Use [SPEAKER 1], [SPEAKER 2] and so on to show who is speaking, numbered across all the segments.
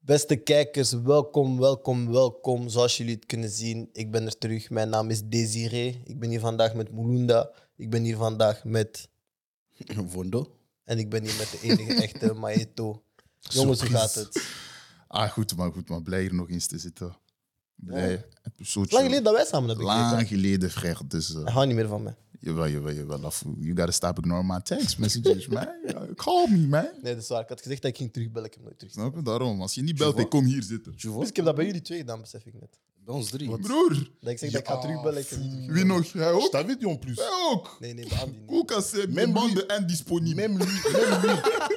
[SPEAKER 1] Beste kijkers, welkom, welkom, welkom. Zoals jullie het kunnen zien, ik ben er terug. Mijn naam is Desiree. Ik ben hier vandaag met Mulunda. Ik ben hier vandaag met...
[SPEAKER 2] Vondo.
[SPEAKER 1] En ik ben hier met de enige echte Maeto. Jongens, hoe gaat het?
[SPEAKER 2] Ah, goed man, goed man. Blij hier nog eens te zitten. Blij.
[SPEAKER 1] Ja.
[SPEAKER 2] Zo chill.
[SPEAKER 1] Lang geleden dat wij samen hebben gekeken.
[SPEAKER 2] Lang geleden, frère. Dus eh,
[SPEAKER 1] Hij houdt niet meer van mij.
[SPEAKER 2] jawel, jawel, jawel. Af- You gotta stop ignoring my text messages, man. Uh, Call me, man.
[SPEAKER 1] Nee, dat is waar. Ik had gezegd dat ik ging terugbellen. Ik heb nooit terugbeld.
[SPEAKER 2] Snap je? Daarom. Als je niet belt, ik kom hier zitten.
[SPEAKER 1] Dus ik heb dat bij jullie twee gedaan, besef ik net.
[SPEAKER 3] Bij ons drie.
[SPEAKER 2] Broer,
[SPEAKER 1] Dat ik zeg dat ik ga
[SPEAKER 3] Ja,
[SPEAKER 1] terugbellen, ik heb niet terugbellen.
[SPEAKER 2] wie nog? Jij
[SPEAKER 3] Je
[SPEAKER 2] ook?
[SPEAKER 3] t'avais dit en plus.
[SPEAKER 2] Jij ook?
[SPEAKER 1] Nee, nee, bij Andy niet.
[SPEAKER 2] Koeka zei,
[SPEAKER 3] Même
[SPEAKER 2] mijn banden indisponibel.
[SPEAKER 3] Même lui, même lui,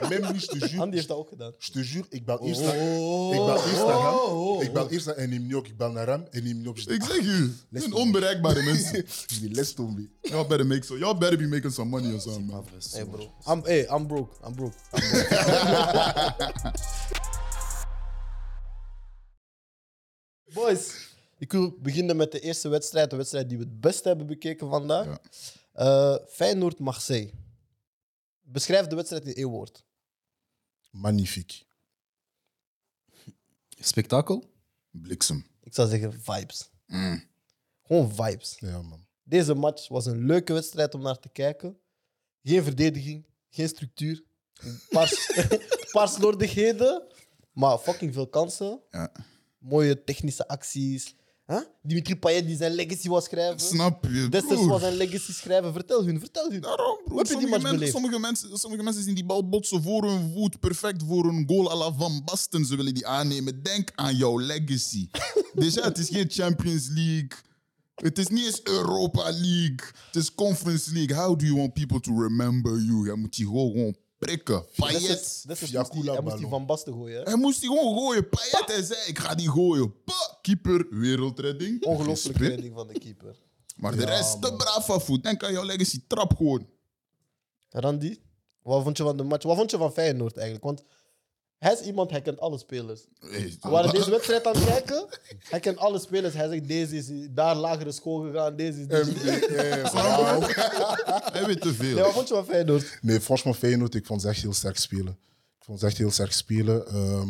[SPEAKER 3] même lui, je te jure.
[SPEAKER 1] Andy heeft dat ook gedaan.
[SPEAKER 3] Je te jure, ik bel eerst
[SPEAKER 1] Oh,
[SPEAKER 3] naar, ik bel eerst naar Ram. Ik bel eerst naar Enimniok, ik bel naar Ram, Enimniok. je-
[SPEAKER 2] Ik
[SPEAKER 1] Ah,
[SPEAKER 2] zeg je, het zijn
[SPEAKER 3] me.
[SPEAKER 2] onbereikbare mensen.
[SPEAKER 3] Je laisse tomber.
[SPEAKER 2] Y'all better, make so, y'all better be making some money or something, man.
[SPEAKER 1] Hey bro. I'm, hey, I'm broke. I'm broke. I'm broke. Boys, ik wil beginnen met de eerste wedstrijd. De wedstrijd die we het best hebben bekeken vandaag.
[SPEAKER 2] Ja.
[SPEAKER 1] Eh, Feyenoord-Marseille. Beschrijf de wedstrijd in één woord.
[SPEAKER 3] Magnifique.
[SPEAKER 4] Spektakel?
[SPEAKER 2] Bliksem.
[SPEAKER 1] Ik zou zeggen vibes.
[SPEAKER 2] Mm.
[SPEAKER 1] Gewoon vibes.
[SPEAKER 3] Ja, man.
[SPEAKER 1] Deze match was een leuke wedstrijd om naar te kijken. Geen verdediging, geen structuur, een paar, een paar slordigheden, maar fucking veel kansen.
[SPEAKER 2] Ja.
[SPEAKER 1] Mooie technische acties. Huh? Dimitri Payet die zijn legacy was schrijven.
[SPEAKER 2] Snap je,
[SPEAKER 1] Desters
[SPEAKER 2] broer? Nou,
[SPEAKER 1] was zijn legacy schrijven. Vertel hun, vertel hun.
[SPEAKER 2] Daarom,
[SPEAKER 1] Hoe heb je die
[SPEAKER 2] broer. Sommige,
[SPEAKER 1] match
[SPEAKER 2] men-
[SPEAKER 1] beleefd?
[SPEAKER 2] sommige, mensen, sommige mensen zien die bal botsen voor hun voet. Perfect voor een goal à la Van Basten. Ze willen die aannemen. Denk aan jouw legacy. Déjà, het is geen Champions League. Het is niet eens Europa League. Het is Conference League. How do you want people to remember you? Jij moet die gewoon gewoon prikken. Payet.
[SPEAKER 1] Desters- Desters moest
[SPEAKER 3] Fiacula
[SPEAKER 1] die- Hij moest die
[SPEAKER 3] ballon.
[SPEAKER 1] van Basten gooien. hè.
[SPEAKER 2] Hij moest die gewoon gooien. Payet, hij zei, ik ga die gooien. Pa! Keeper, wereldredding.
[SPEAKER 1] Ongelooflijke
[SPEAKER 2] Respect.
[SPEAKER 1] redding van de keeper.
[SPEAKER 2] Maar de
[SPEAKER 3] Ja,
[SPEAKER 2] rest, te
[SPEAKER 3] man.
[SPEAKER 2] braaf van voet. Denk aan jouw legacy. Trap gewoon.
[SPEAKER 1] Randy, wat vond je van de match? Wat vond je van Feyenoord eigenlijk? Want hij is iemand, hij kent alle spelers.
[SPEAKER 2] Hey,
[SPEAKER 1] We
[SPEAKER 3] Ah,
[SPEAKER 1] waren deze wedstrijd aan het kijken. Hij kent alle spelers. Hij zegt, deze is daar lagere school gegaan, deze is...
[SPEAKER 3] Eh,
[SPEAKER 1] Deze.
[SPEAKER 3] MDR.
[SPEAKER 2] Snap je? Hij weet te veel.
[SPEAKER 1] Nee, wat vond je van Feyenoord?
[SPEAKER 3] Nee, franchement, Feyenoord, ik vond ze echt heel sterk spelen. Ik vond ze echt heel sterk spelen. Ehm,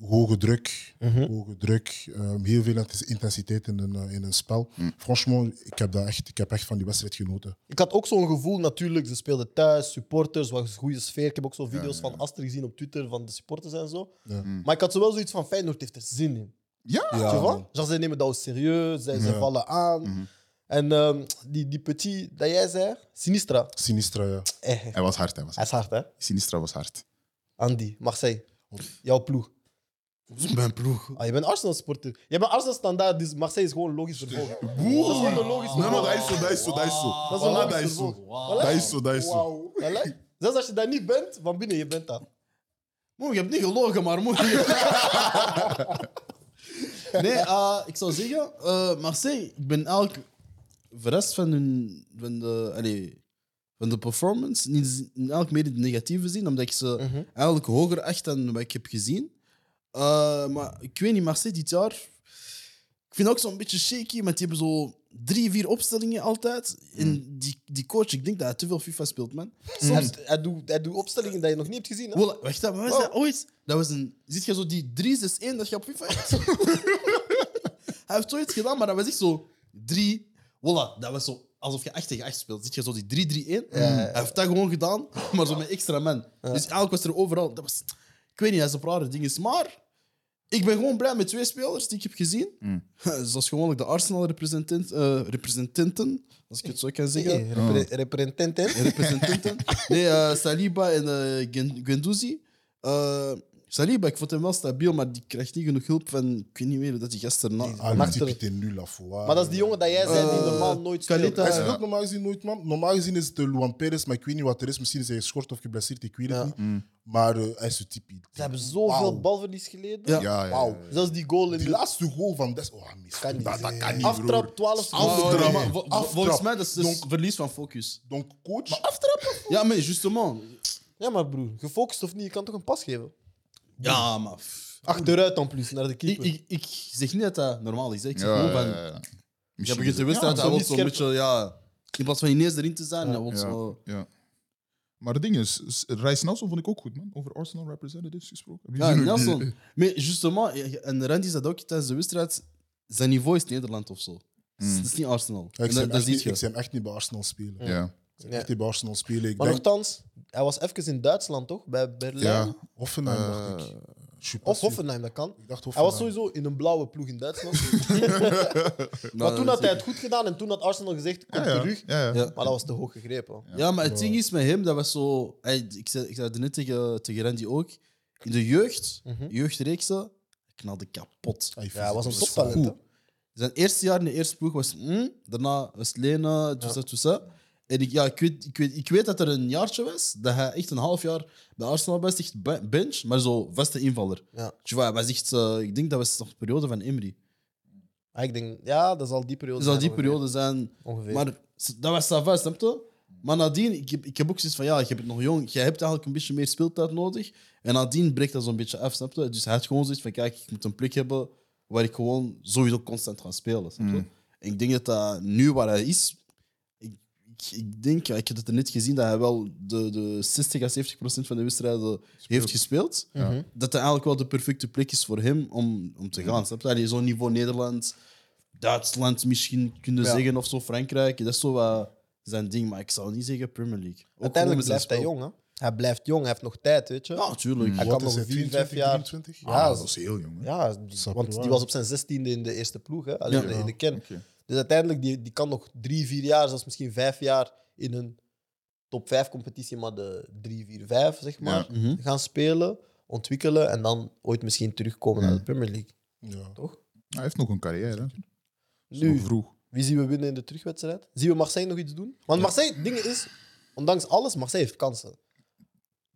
[SPEAKER 3] hoge druk,
[SPEAKER 1] Mhm.
[SPEAKER 3] hoge druk. ehm, heel veel int- intensiteit in een, eh, in een spel. Franchement, ik heb, dat echt, ik heb echt van die wedstrijd genoten.
[SPEAKER 1] Ik had ook zo'n gevoel, natuurlijk, ze speelden thuis, supporters, was een goede sfeer. Ik heb ook zo'n video's van Astrid gezien op Twitter, van de supporters en zo.
[SPEAKER 3] Ja.
[SPEAKER 1] Maar ik had zo wel zoiets van, Feyenoord heeft er zin in.
[SPEAKER 2] Ja,
[SPEAKER 1] Tu vois? Genre, ze nemen dat ook serieus, ze, ze
[SPEAKER 3] Ja.
[SPEAKER 1] vallen aan. En ehm, die, die petit dat jij zei, Sinistra.
[SPEAKER 3] Sinistra, ja.
[SPEAKER 1] Eh,
[SPEAKER 2] hij was hard. Hij was
[SPEAKER 1] hij
[SPEAKER 2] hard.
[SPEAKER 1] is hard, hè?
[SPEAKER 2] Sinistra was hard.
[SPEAKER 1] Andy, Marseille, jouw ploeg.
[SPEAKER 4] Mijn ploeg.
[SPEAKER 1] Ah, je bent Arsenal-sporter. Je bent Arsenal-standaard, dus Marseille is gewoon logisch vervolgen.
[SPEAKER 2] Boer!
[SPEAKER 1] Dat is gewoon een logisch
[SPEAKER 2] Nee, maar
[SPEAKER 1] vervolg.
[SPEAKER 2] dat is zo, dat is zo, dat is zo.
[SPEAKER 1] Dat is een
[SPEAKER 2] Voilà,
[SPEAKER 1] logisch
[SPEAKER 2] dat is
[SPEAKER 1] vervolg.
[SPEAKER 2] zo.
[SPEAKER 1] Voilà.
[SPEAKER 2] Dat is zo, dat is zo.
[SPEAKER 3] Wauw.
[SPEAKER 1] Voilà. Zelfs als je daar niet bent, van binnen, je bent daar.
[SPEAKER 3] Mm.
[SPEAKER 4] Moe, je hebt niet gelogen, maar moe. nee, eh, ik zou zeggen, eh, Marseille, ik ben eigenlijk voor de rest van, hun, van, de, allee, van de performance niet, eigenlijk meer in het negatieve zien, omdat ik ze eigenlijk hoger acht dan wat ik heb gezien. Eh, maar ik weet niet, Marseille dit jaar, ik vind het ook zo'n beetje shaky, maar die hebben zo drie, vier opstellingen altijd. En die, die coach, ik denk dat hij te veel FIFA speelt, man.
[SPEAKER 1] Soms, hij, doet, hij doet opstellingen die je nog niet hebt gezien. hè?
[SPEAKER 4] Voilà, wacht, dat was dat ooit. Dat was een. Ziet je zo die 361 dat je op FIFA hebt? Hij heeft zoiets gedaan, maar dat was echt zo 3. Voilà, dat was zo alsof je 8 tegen 8 speelt. Ziet je zo die 3-3-1? Hij heeft dat gewoon gedaan, maar zo met extra man. Dus eigenlijk was er overal. Dat was, ik weet niet, dat is een rare ding. Maar ik ben gewoon blij met twee spelers die ik heb gezien.
[SPEAKER 1] Mm.
[SPEAKER 4] Zoals gewoonlijk de Arsenal-representanten, representanten, als ik het zo kan zeggen.
[SPEAKER 1] Hey, repre- Representanten.
[SPEAKER 4] representanten. Nee, eh, Saliba en eh, Gen- Guendouzi. Eh, Saliba, ik vond hem wel stabiel, maar die krijgt niet genoeg hulp van... Ik weet niet meer dat hij gisteren... na-
[SPEAKER 3] Ah,
[SPEAKER 1] Achter-
[SPEAKER 3] die type était nul à fois.
[SPEAKER 1] Maar dat is die jongen dat jij zei die
[SPEAKER 4] Eh,
[SPEAKER 1] normaal nooit speelt.
[SPEAKER 4] Kalita.
[SPEAKER 3] Hij
[SPEAKER 4] Ja.
[SPEAKER 3] speelt normaal gezien nooit, man. Normaal gezien is het eh, Luan Perez, maar ik weet niet wat er is. Misschien is hij geschort of geblesseerd, ik weet het
[SPEAKER 1] Ja.
[SPEAKER 3] niet. Maar eh, hij is een type.
[SPEAKER 1] Ze hebben zoveel
[SPEAKER 3] Wauw.
[SPEAKER 1] balverlies geleden.
[SPEAKER 4] Ja.
[SPEAKER 2] Ja, ja.
[SPEAKER 3] Wauw.
[SPEAKER 2] ja.
[SPEAKER 1] Zelfs die goal in
[SPEAKER 3] Die
[SPEAKER 1] de
[SPEAKER 3] laatste goal van Des... Oh, hij mist.
[SPEAKER 1] Kan niet.
[SPEAKER 3] Dat, dat kan niet, broer.
[SPEAKER 1] aftrap 12
[SPEAKER 4] Oh,
[SPEAKER 1] seconden.
[SPEAKER 2] Aftrap.
[SPEAKER 4] nee, maar vo-
[SPEAKER 3] Aftrap.
[SPEAKER 4] Volgens mij dat is dus verlies van focus.
[SPEAKER 3] Donc, coach...
[SPEAKER 4] Ja, maar justement.
[SPEAKER 1] Ja, maar broer, gefocust of niet, je kan toch een pas geven?
[SPEAKER 4] Ja, maar... pff.
[SPEAKER 1] Achteruit dan plus, naar de
[SPEAKER 4] Ik,
[SPEAKER 1] keeper.
[SPEAKER 4] ik, ik zeg niet dat dat normaal is. hè. Ik zeg
[SPEAKER 2] Ja,
[SPEAKER 4] gewoon van...
[SPEAKER 2] ja, ja.
[SPEAKER 4] Je
[SPEAKER 2] Misschien
[SPEAKER 4] begint te
[SPEAKER 2] is
[SPEAKER 4] wisten
[SPEAKER 1] Ja,
[SPEAKER 4] dat
[SPEAKER 1] zo
[SPEAKER 4] hij wel
[SPEAKER 1] niet
[SPEAKER 4] zo'n
[SPEAKER 1] scherp.
[SPEAKER 4] beetje... Ja, in plaats van ineens erin te zijn,
[SPEAKER 1] Ja.
[SPEAKER 4] hij wil
[SPEAKER 2] het-
[SPEAKER 4] zo...
[SPEAKER 2] Ja. ja. Maar ding is, S- Rijs Nelson vond ik ook goed, man. Over Arsenal representatives gesproken. Heb je
[SPEAKER 4] Ja,
[SPEAKER 2] gezien hoe
[SPEAKER 4] Nelson.
[SPEAKER 2] die-
[SPEAKER 4] Maar justement, eh, en Randy zei dat ook tijdens de wedstrijd, zijn niveau is Nederland of zo. Het
[SPEAKER 1] Hmm.
[SPEAKER 4] is-
[SPEAKER 2] Mm.
[SPEAKER 4] Het is niet Arsenal.
[SPEAKER 3] Ja, ik,
[SPEAKER 4] En
[SPEAKER 3] zie
[SPEAKER 4] dat
[SPEAKER 3] hem
[SPEAKER 4] dat
[SPEAKER 3] echt
[SPEAKER 4] zie
[SPEAKER 3] niet, ik
[SPEAKER 4] je.
[SPEAKER 3] zie hem echt niet bij Arsenal spelen. Ik
[SPEAKER 2] Ja.
[SPEAKER 3] zie hem
[SPEAKER 1] Ja.
[SPEAKER 3] echt niet bij Arsenal spelen. Ik
[SPEAKER 1] Maar
[SPEAKER 3] denk
[SPEAKER 1] nogthans, hij was even in Duitsland, toch? Bij Berlijn.
[SPEAKER 2] Ja.
[SPEAKER 3] Hoffenheim,
[SPEAKER 2] Eh,
[SPEAKER 3] dacht ik. Je suis pas
[SPEAKER 1] Of
[SPEAKER 3] sûr.
[SPEAKER 1] Hoffenheim, dat kan.
[SPEAKER 3] Ik dacht
[SPEAKER 1] Hij
[SPEAKER 3] Hoffenheim.
[SPEAKER 1] was sowieso in een blauwe ploeg in Duitsland.
[SPEAKER 4] Nou,
[SPEAKER 1] maar toen had hij het goed gedaan en toen had Arsenal gezegd, kom
[SPEAKER 2] Ja, ja.
[SPEAKER 1] terug.
[SPEAKER 2] Ja, ja.
[SPEAKER 4] Ja.
[SPEAKER 1] Maar dat was te hoog gegrepen.
[SPEAKER 4] Ja, maar het ding is met hem, dat was zo... hij- ik, zei, ik zei het net tegen, tegen Randy ook. In de jeugd,
[SPEAKER 1] Mhm. Ah,
[SPEAKER 4] jeugdreeksen, hij knalde kapot.
[SPEAKER 3] Hij
[SPEAKER 1] Ja, hij was een
[SPEAKER 3] fysiek
[SPEAKER 1] toptalent. hè.
[SPEAKER 4] Zijn eerste jaar in de eerste ploeg was... mm, daarna was Lena, toesa, toesa. En ik, ja, ik, weet, ik, weet, ik weet dat er een jaartje was dat hij echt een half jaar bij Arsenal was, echt be- bench, maar zo vaste invaller.
[SPEAKER 1] Ja.
[SPEAKER 4] Tu vois, hij was echt, eh, ik denk dat was nog de periode van Emery.
[SPEAKER 1] Maar ik denk, ja, dat zal die periode
[SPEAKER 4] Dus zal die
[SPEAKER 1] zijn ongeveer.
[SPEAKER 4] periode zijn...
[SPEAKER 1] Ongeveer.
[SPEAKER 4] Maar s- dat was Savas, snap je? Maar nadien, ik heb, ik heb ook zoiets van, ja, je bent nog jong, je hebt eigenlijk een beetje meer speeltijd nodig. En nadien breekt dat zo'n beetje af, snap je? Dus hij had gewoon zoiets van, kijk, ik moet een plek hebben waar ik gewoon sowieso constant ga spelen, snap je?
[SPEAKER 2] Mm.
[SPEAKER 4] En ik denk dat dat nu waar hij is, ik, ik, ik denk, ja, ik heb het er net gezien, dat hij wel de, de 60 à 70 procent van de wedstrijden heeft gespeeld.
[SPEAKER 1] Mhm.
[SPEAKER 4] Dat dat eigenlijk wel de perfecte plek is voor hem om, om te gaan, snap je? Allee, Zo'n niveau Nederland... Duitsland misschien kunnen
[SPEAKER 1] Ja.
[SPEAKER 4] zeggen of zo, Frankrijk. Dat is zo wat zijn ding, maar ik zou niet zeggen Premier League. Ook gewoon
[SPEAKER 1] Uiteindelijk
[SPEAKER 4] met
[SPEAKER 1] blijft
[SPEAKER 4] zijn
[SPEAKER 1] hij
[SPEAKER 4] spel.
[SPEAKER 1] jong, hè? Hij blijft jong, hij heeft nog tijd, weet je.
[SPEAKER 4] Ja, natuurlijk.
[SPEAKER 1] Hij
[SPEAKER 3] Wat
[SPEAKER 1] kan
[SPEAKER 3] is
[SPEAKER 1] nog
[SPEAKER 3] hij,
[SPEAKER 1] vier, vijf
[SPEAKER 3] 24,
[SPEAKER 1] jaar.
[SPEAKER 3] 23?
[SPEAKER 1] Ja,
[SPEAKER 2] Ah,
[SPEAKER 1] dat
[SPEAKER 2] dat is heel jong, hè.
[SPEAKER 1] Ja,
[SPEAKER 3] Snap
[SPEAKER 1] want
[SPEAKER 3] je wel.
[SPEAKER 1] die was op zijn zestiende in de eerste ploeg, hè? Alleen
[SPEAKER 4] Ja.
[SPEAKER 1] in de kern.
[SPEAKER 2] Oké.
[SPEAKER 1] Dus uiteindelijk, die, die kan nog drie, vier jaar, zelfs misschien vijf jaar in een top vijf competitie, maar de drie, vier, vijf, zeg maar,
[SPEAKER 4] Mhm.
[SPEAKER 1] gaan spelen, ontwikkelen en dan ooit misschien terugkomen
[SPEAKER 2] Ja.
[SPEAKER 1] naar de Premier League.
[SPEAKER 3] Ja.
[SPEAKER 2] Hij heeft nog een carrière, hè. Nu.
[SPEAKER 1] Nu,
[SPEAKER 2] vroeg.
[SPEAKER 1] wie zien we winnen in de terugwedstrijd? Zien we Marseille nog iets doen? Want Marseille, het ding is, ondanks alles, Marseille heeft kansen.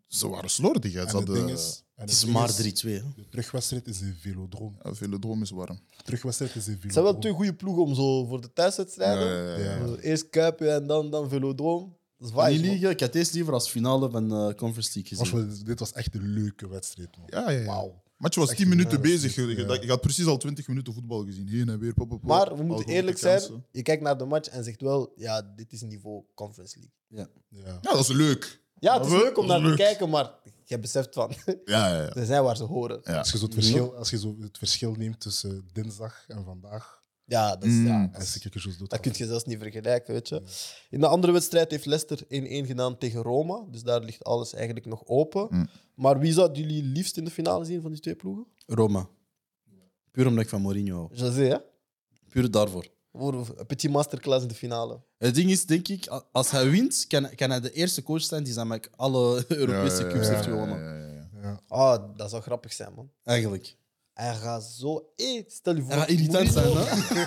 [SPEAKER 2] Ze waren slordig, hè.
[SPEAKER 3] En
[SPEAKER 2] Ze
[SPEAKER 3] het
[SPEAKER 2] hadden...
[SPEAKER 3] ding is... en
[SPEAKER 4] Het is
[SPEAKER 3] ding
[SPEAKER 4] maar
[SPEAKER 3] is,
[SPEAKER 4] 3-2. hè.
[SPEAKER 3] De terugwedstrijd is een velodroom.
[SPEAKER 2] Ja, Velodrome is warm.
[SPEAKER 3] De terugwedstrijd is een velodroom.
[SPEAKER 1] Het zijn wel twee goede ploegen om zo voor de thuiswedstrijden.
[SPEAKER 2] Ja, ja, ja.
[SPEAKER 3] Ja.
[SPEAKER 1] Dus Eerst Kuipen en dan, dan Velodroom. Dat is
[SPEAKER 4] In
[SPEAKER 1] vibe,
[SPEAKER 4] die
[SPEAKER 1] man.
[SPEAKER 4] liga, ik had deze liever als finale van eh Conference League gezien.
[SPEAKER 3] Franchement, dit- dit was echt een leuke wedstrijd, man.
[SPEAKER 2] Ja, ja, ja.
[SPEAKER 3] Wauw.
[SPEAKER 2] Maar je was
[SPEAKER 3] Echt
[SPEAKER 2] 10 minuten
[SPEAKER 3] een
[SPEAKER 2] bezig. Je,
[SPEAKER 3] rare
[SPEAKER 2] je-
[SPEAKER 3] shit, ja.
[SPEAKER 2] je had precies al 20 minuten voetbal gezien. Heen en weer. pop, pop, pop.
[SPEAKER 1] Maar we moeten
[SPEAKER 2] Algemene
[SPEAKER 1] eerlijk zijn.
[SPEAKER 2] kansen.
[SPEAKER 1] Je kijkt naar de match en zegt wel, ja, dit is niveau Conference League.
[SPEAKER 3] Ja.
[SPEAKER 2] Ja, dat is leuk.
[SPEAKER 1] Ja, het is
[SPEAKER 2] Maar we-
[SPEAKER 1] leuk om naar te
[SPEAKER 2] leuk.
[SPEAKER 1] kijken, maar je beseft van,
[SPEAKER 2] Ja, ja, ja.
[SPEAKER 1] ze zijn waar ze horen.
[SPEAKER 2] Ja.
[SPEAKER 3] Als je, zo het verschil, als je zo het verschil neemt tussen dinsdag en vandaag,
[SPEAKER 1] Ja, dat, is, ja,
[SPEAKER 2] Mm.
[SPEAKER 1] dat,
[SPEAKER 3] als
[SPEAKER 1] is-
[SPEAKER 3] ik er zo doet.
[SPEAKER 1] dat kun je zelfs niet vergelijken, weet je. In de andere wedstrijd heeft Leicester 1-1 gedaan tegen Roma, dus daar ligt alles eigenlijk nog open.
[SPEAKER 2] Mm.
[SPEAKER 1] Maar wie zouden jullie liefst in de finale zien van die twee ploegen?
[SPEAKER 4] Roma. Puur omdat ik van Mourinho hou.
[SPEAKER 1] José, hè?
[SPEAKER 4] Puur daarvoor.
[SPEAKER 1] Voor een petit masterclass in de finale.
[SPEAKER 4] Het ding is, denk ik, a- als hij wint, kan, kan hij de eerste coach zijn die zijn met alle Europese
[SPEAKER 2] Ja, ja,
[SPEAKER 4] cups
[SPEAKER 2] ja,
[SPEAKER 4] heeft
[SPEAKER 2] ja,
[SPEAKER 4] gewonnen.
[SPEAKER 2] ja, ja, ja.
[SPEAKER 3] Ja.
[SPEAKER 1] Ah, dat zou grappig zijn, man.
[SPEAKER 4] Eigenlijk.
[SPEAKER 1] Hij gaat zo... Hey, stel je voor...
[SPEAKER 4] Hij gaat
[SPEAKER 1] als
[SPEAKER 4] irritant zijn,
[SPEAKER 1] Mourinho-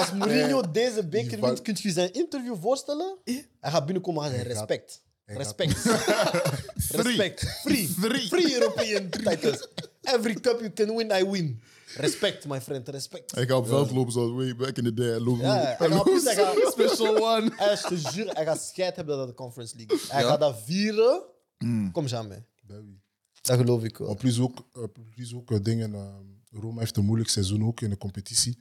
[SPEAKER 1] Als Mourinho deze beker
[SPEAKER 3] die va-
[SPEAKER 1] wint, kunt je zijn interview voorstellen? Hij gaat binnenkomen en hij
[SPEAKER 3] Hij
[SPEAKER 1] zegt
[SPEAKER 3] gaat-
[SPEAKER 1] respect.
[SPEAKER 3] hij gaat-
[SPEAKER 1] Respect. respect. Free.
[SPEAKER 2] Free.
[SPEAKER 1] Free European titles. Every cup you can win, I win. Respect, my friend. Respect.
[SPEAKER 2] Hij gaat op veld lopen zoals way back in the day. Hij loopt-
[SPEAKER 1] Ja, hij gaat, plus, hij gaat,
[SPEAKER 4] Special one.
[SPEAKER 1] hij, is te zuur, hij gaat scheid hebben dat het de Conference League is. Hij
[SPEAKER 4] Ja.
[SPEAKER 1] gaat dat vieren.
[SPEAKER 2] Mm.
[SPEAKER 1] Kom, Jean mee.
[SPEAKER 3] Bij wie?
[SPEAKER 1] Dat geloof ik wel.
[SPEAKER 3] Maar plus ook, eh, plus ook eh, dingen. eh, Roma heeft een moeilijk seizoen ook in de competitie.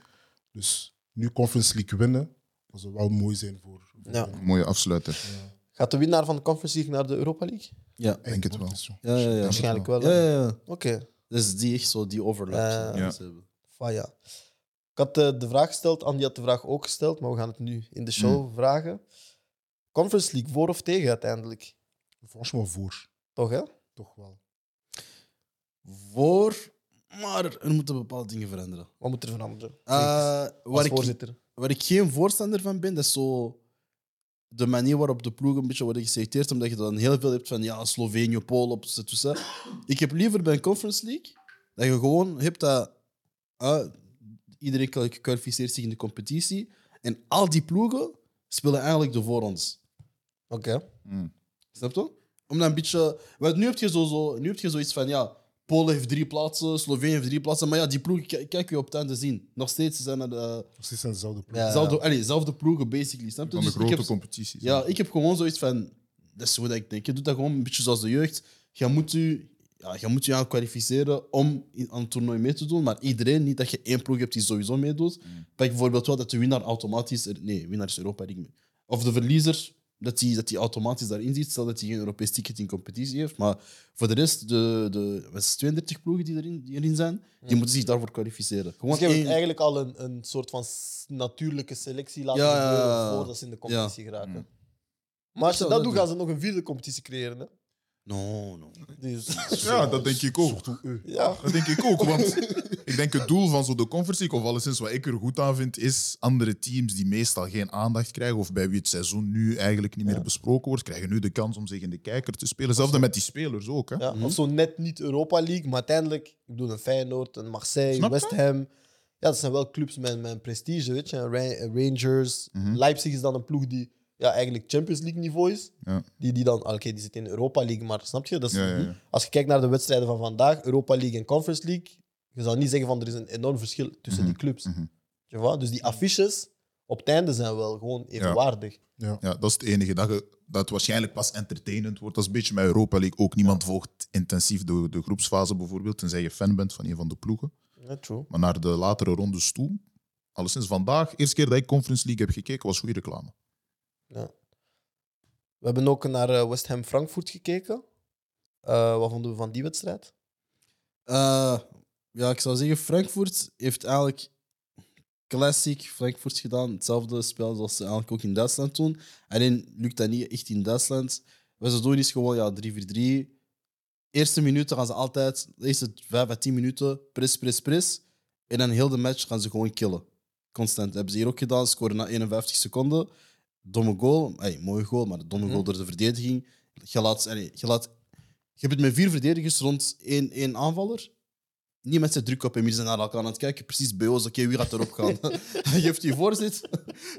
[SPEAKER 3] Dus nu Conference League winnen, dat zou wel mooi zijn voor. voor
[SPEAKER 1] Ja.
[SPEAKER 3] Roma.
[SPEAKER 2] Mooie afsluiter.
[SPEAKER 1] Gaat de winnaar van de Conference League naar de Europa League?
[SPEAKER 4] Ja,
[SPEAKER 2] Ik denk het wel.
[SPEAKER 3] competitie.
[SPEAKER 4] ja, ja. ja.
[SPEAKER 1] Waarschijnlijk wel.
[SPEAKER 4] Ja,
[SPEAKER 1] hè?
[SPEAKER 4] ja, ja.
[SPEAKER 1] Oké.
[SPEAKER 4] Dus die echt zo, die overlap.
[SPEAKER 1] Eh,
[SPEAKER 4] ja.
[SPEAKER 2] Ja.
[SPEAKER 4] ze hebben.
[SPEAKER 1] Faya. Ik had eh, de vraag gesteld, Andy had de vraag ook gesteld, maar we gaan het nu in de
[SPEAKER 4] Mm.
[SPEAKER 1] show vragen. Conference League, voor of tegen uiteindelijk?
[SPEAKER 3] Franchement, voor.
[SPEAKER 1] Toch, hè?
[SPEAKER 3] Toch wel.
[SPEAKER 4] voor, maar er moeten bepaalde dingen veranderen.
[SPEAKER 1] Wat moet er veranderen?
[SPEAKER 4] Eh,
[SPEAKER 1] Als
[SPEAKER 4] waar, ik,
[SPEAKER 1] voorzitter.
[SPEAKER 4] waar ik geen voorstander van ben, dat is zo de manier waarop de ploegen een beetje worden geselecteerd, omdat je dan heel veel hebt van ja, Slovenië, Polen, tussen. Ik heb liever bij een Conference League dat je gewoon hebt dat eh, iedereen kwal- kwalificeert zich in de competitie en al die ploegen spelen eigenlijk de voorrondes.
[SPEAKER 1] Oké.
[SPEAKER 2] Mm.
[SPEAKER 4] Snap je? Om dan een beetje. Want nu heb je, zo, zo, nu heb je zoiets van: ja, Polen heeft drie plaatsen, Slovenië heeft drie plaatsen. Maar ja, die ploegen k- kijk je op het einde zien. Nog steeds zijn er de,
[SPEAKER 3] Nog steeds zijn dezelfde ploeg.
[SPEAKER 1] Ja.
[SPEAKER 4] zelfde, allee, zelfde ploegen, basically. Snap je?
[SPEAKER 2] Van de
[SPEAKER 4] Dus ik
[SPEAKER 2] grote
[SPEAKER 4] heb-
[SPEAKER 2] competities.
[SPEAKER 4] ja, ik heb gewoon zoiets van: dat is wat ik denk. Je doet dat gewoon een beetje zoals de jeugd. Je moet je, ja, je, moet je aan kwalificeren om in- aan het toernooi mee te doen. Maar iedereen, niet dat je één ploeg hebt die sowieso
[SPEAKER 2] Mm.
[SPEAKER 4] meedoet. Pak bijvoorbeeld wel dat de winnaar automatisch. er- nee, winnaar is Europa League. Of de verliezer Dat hij dat die automatisch daarin zit, stel dat hij geen Europees ticket in competitie heeft. Maar voor de rest, de, de wat is het, 32 ploegen die erin, die erin zijn, die moeten zich daarvoor kwalificeren. Gewoon
[SPEAKER 1] Dus je hebt
[SPEAKER 4] één-
[SPEAKER 1] eigenlijk al een, een soort van s- natuurlijke selectie laten
[SPEAKER 4] Ja, ja,
[SPEAKER 1] gebeuren
[SPEAKER 4] ja.
[SPEAKER 1] voordat ze in de competitie geraken.
[SPEAKER 2] Mm.
[SPEAKER 1] Maar als je
[SPEAKER 4] zou
[SPEAKER 1] dat
[SPEAKER 4] dat
[SPEAKER 1] doet, gaan ze nog een vierde competitie creëren. Hè?
[SPEAKER 4] No, no.
[SPEAKER 1] Dus,
[SPEAKER 2] Ja, dat denk ik ook.
[SPEAKER 1] ja.
[SPEAKER 2] Dat denk ik ook, want ik denk het doel van zo de Conference League, of alleszins wat ik er goed aan vind, is andere teams die meestal geen aandacht krijgen, of bij wie het seizoen nu eigenlijk niet meer besproken wordt, krijgen nu de kans om zich in de kijker te spelen. Zelfde met die spelers ook. Hè.
[SPEAKER 1] Ja, Of zo net niet Europa League, maar uiteindelijk, ik bedoel, een Feyenoord, een Marseille,
[SPEAKER 2] Snap je?
[SPEAKER 1] West Ham. Ja, dat zijn wel clubs met, met een prestige, weet je. Ra- Rangers,
[SPEAKER 2] Mhm.
[SPEAKER 1] Leipzig is dan een ploeg die ja, eigenlijk Champions League niveau is.
[SPEAKER 2] Ja.
[SPEAKER 1] Die, die dan, oké, die zit in Europa League, maar snap je? Dat is,
[SPEAKER 2] Ja, ja, ja.
[SPEAKER 1] Als je kijkt naar de wedstrijden van vandaag, Europa League en Conference League, je zou niet zeggen van er is een enorm verschil tussen
[SPEAKER 2] Mhm,
[SPEAKER 1] die clubs.
[SPEAKER 2] mhm.
[SPEAKER 1] Je vois? Dus die affiches op het einde zijn wel gewoon evenwaardig.
[SPEAKER 2] Ja, dat is het enige. Dat, je, dat het waarschijnlijk pas entertainend wordt. Dat is een beetje met Europa League ook. Niemand volgt intensief de, de groepsfase bijvoorbeeld, tenzij je fan bent van een van de ploegen.
[SPEAKER 1] Ja, true.
[SPEAKER 2] Maar naar de latere rondes toe, alleszins vandaag, eerste keer dat ik Conference League heb gekeken, was goede reclame.
[SPEAKER 1] We hebben ook naar eh, West Ham Frankfurt gekeken. Eh, wat vonden we van die wedstrijd?
[SPEAKER 4] Eh, ja, ik zou zeggen, Frankfurt heeft eigenlijk classic Frankfurt gedaan. Hetzelfde spel zoals ze eigenlijk ook in Duitsland doen. Alleen lukt dat niet echt in Duitsland. Wat ze doen is gewoon ja, 3-4-3. Eerste minuten gaan ze altijd, de eerste 5 à 10 minuten, press, press, press. En dan heel de match gaan ze gewoon killen. Constant. hebben ze hier ook gedaan, scoren na 51 seconden. Domme goal, Ey, mooie goal, maar domme goal door de verdediging. Je laat, allee, je laat je hebt met vier verdedigers rond één, één aanvaller. Niet met z'n druk op hem, die zijn naar elkaar aan het kijken. Precies bij ons, oké, wie gaat erop gaan? Hij geeft die voorzit,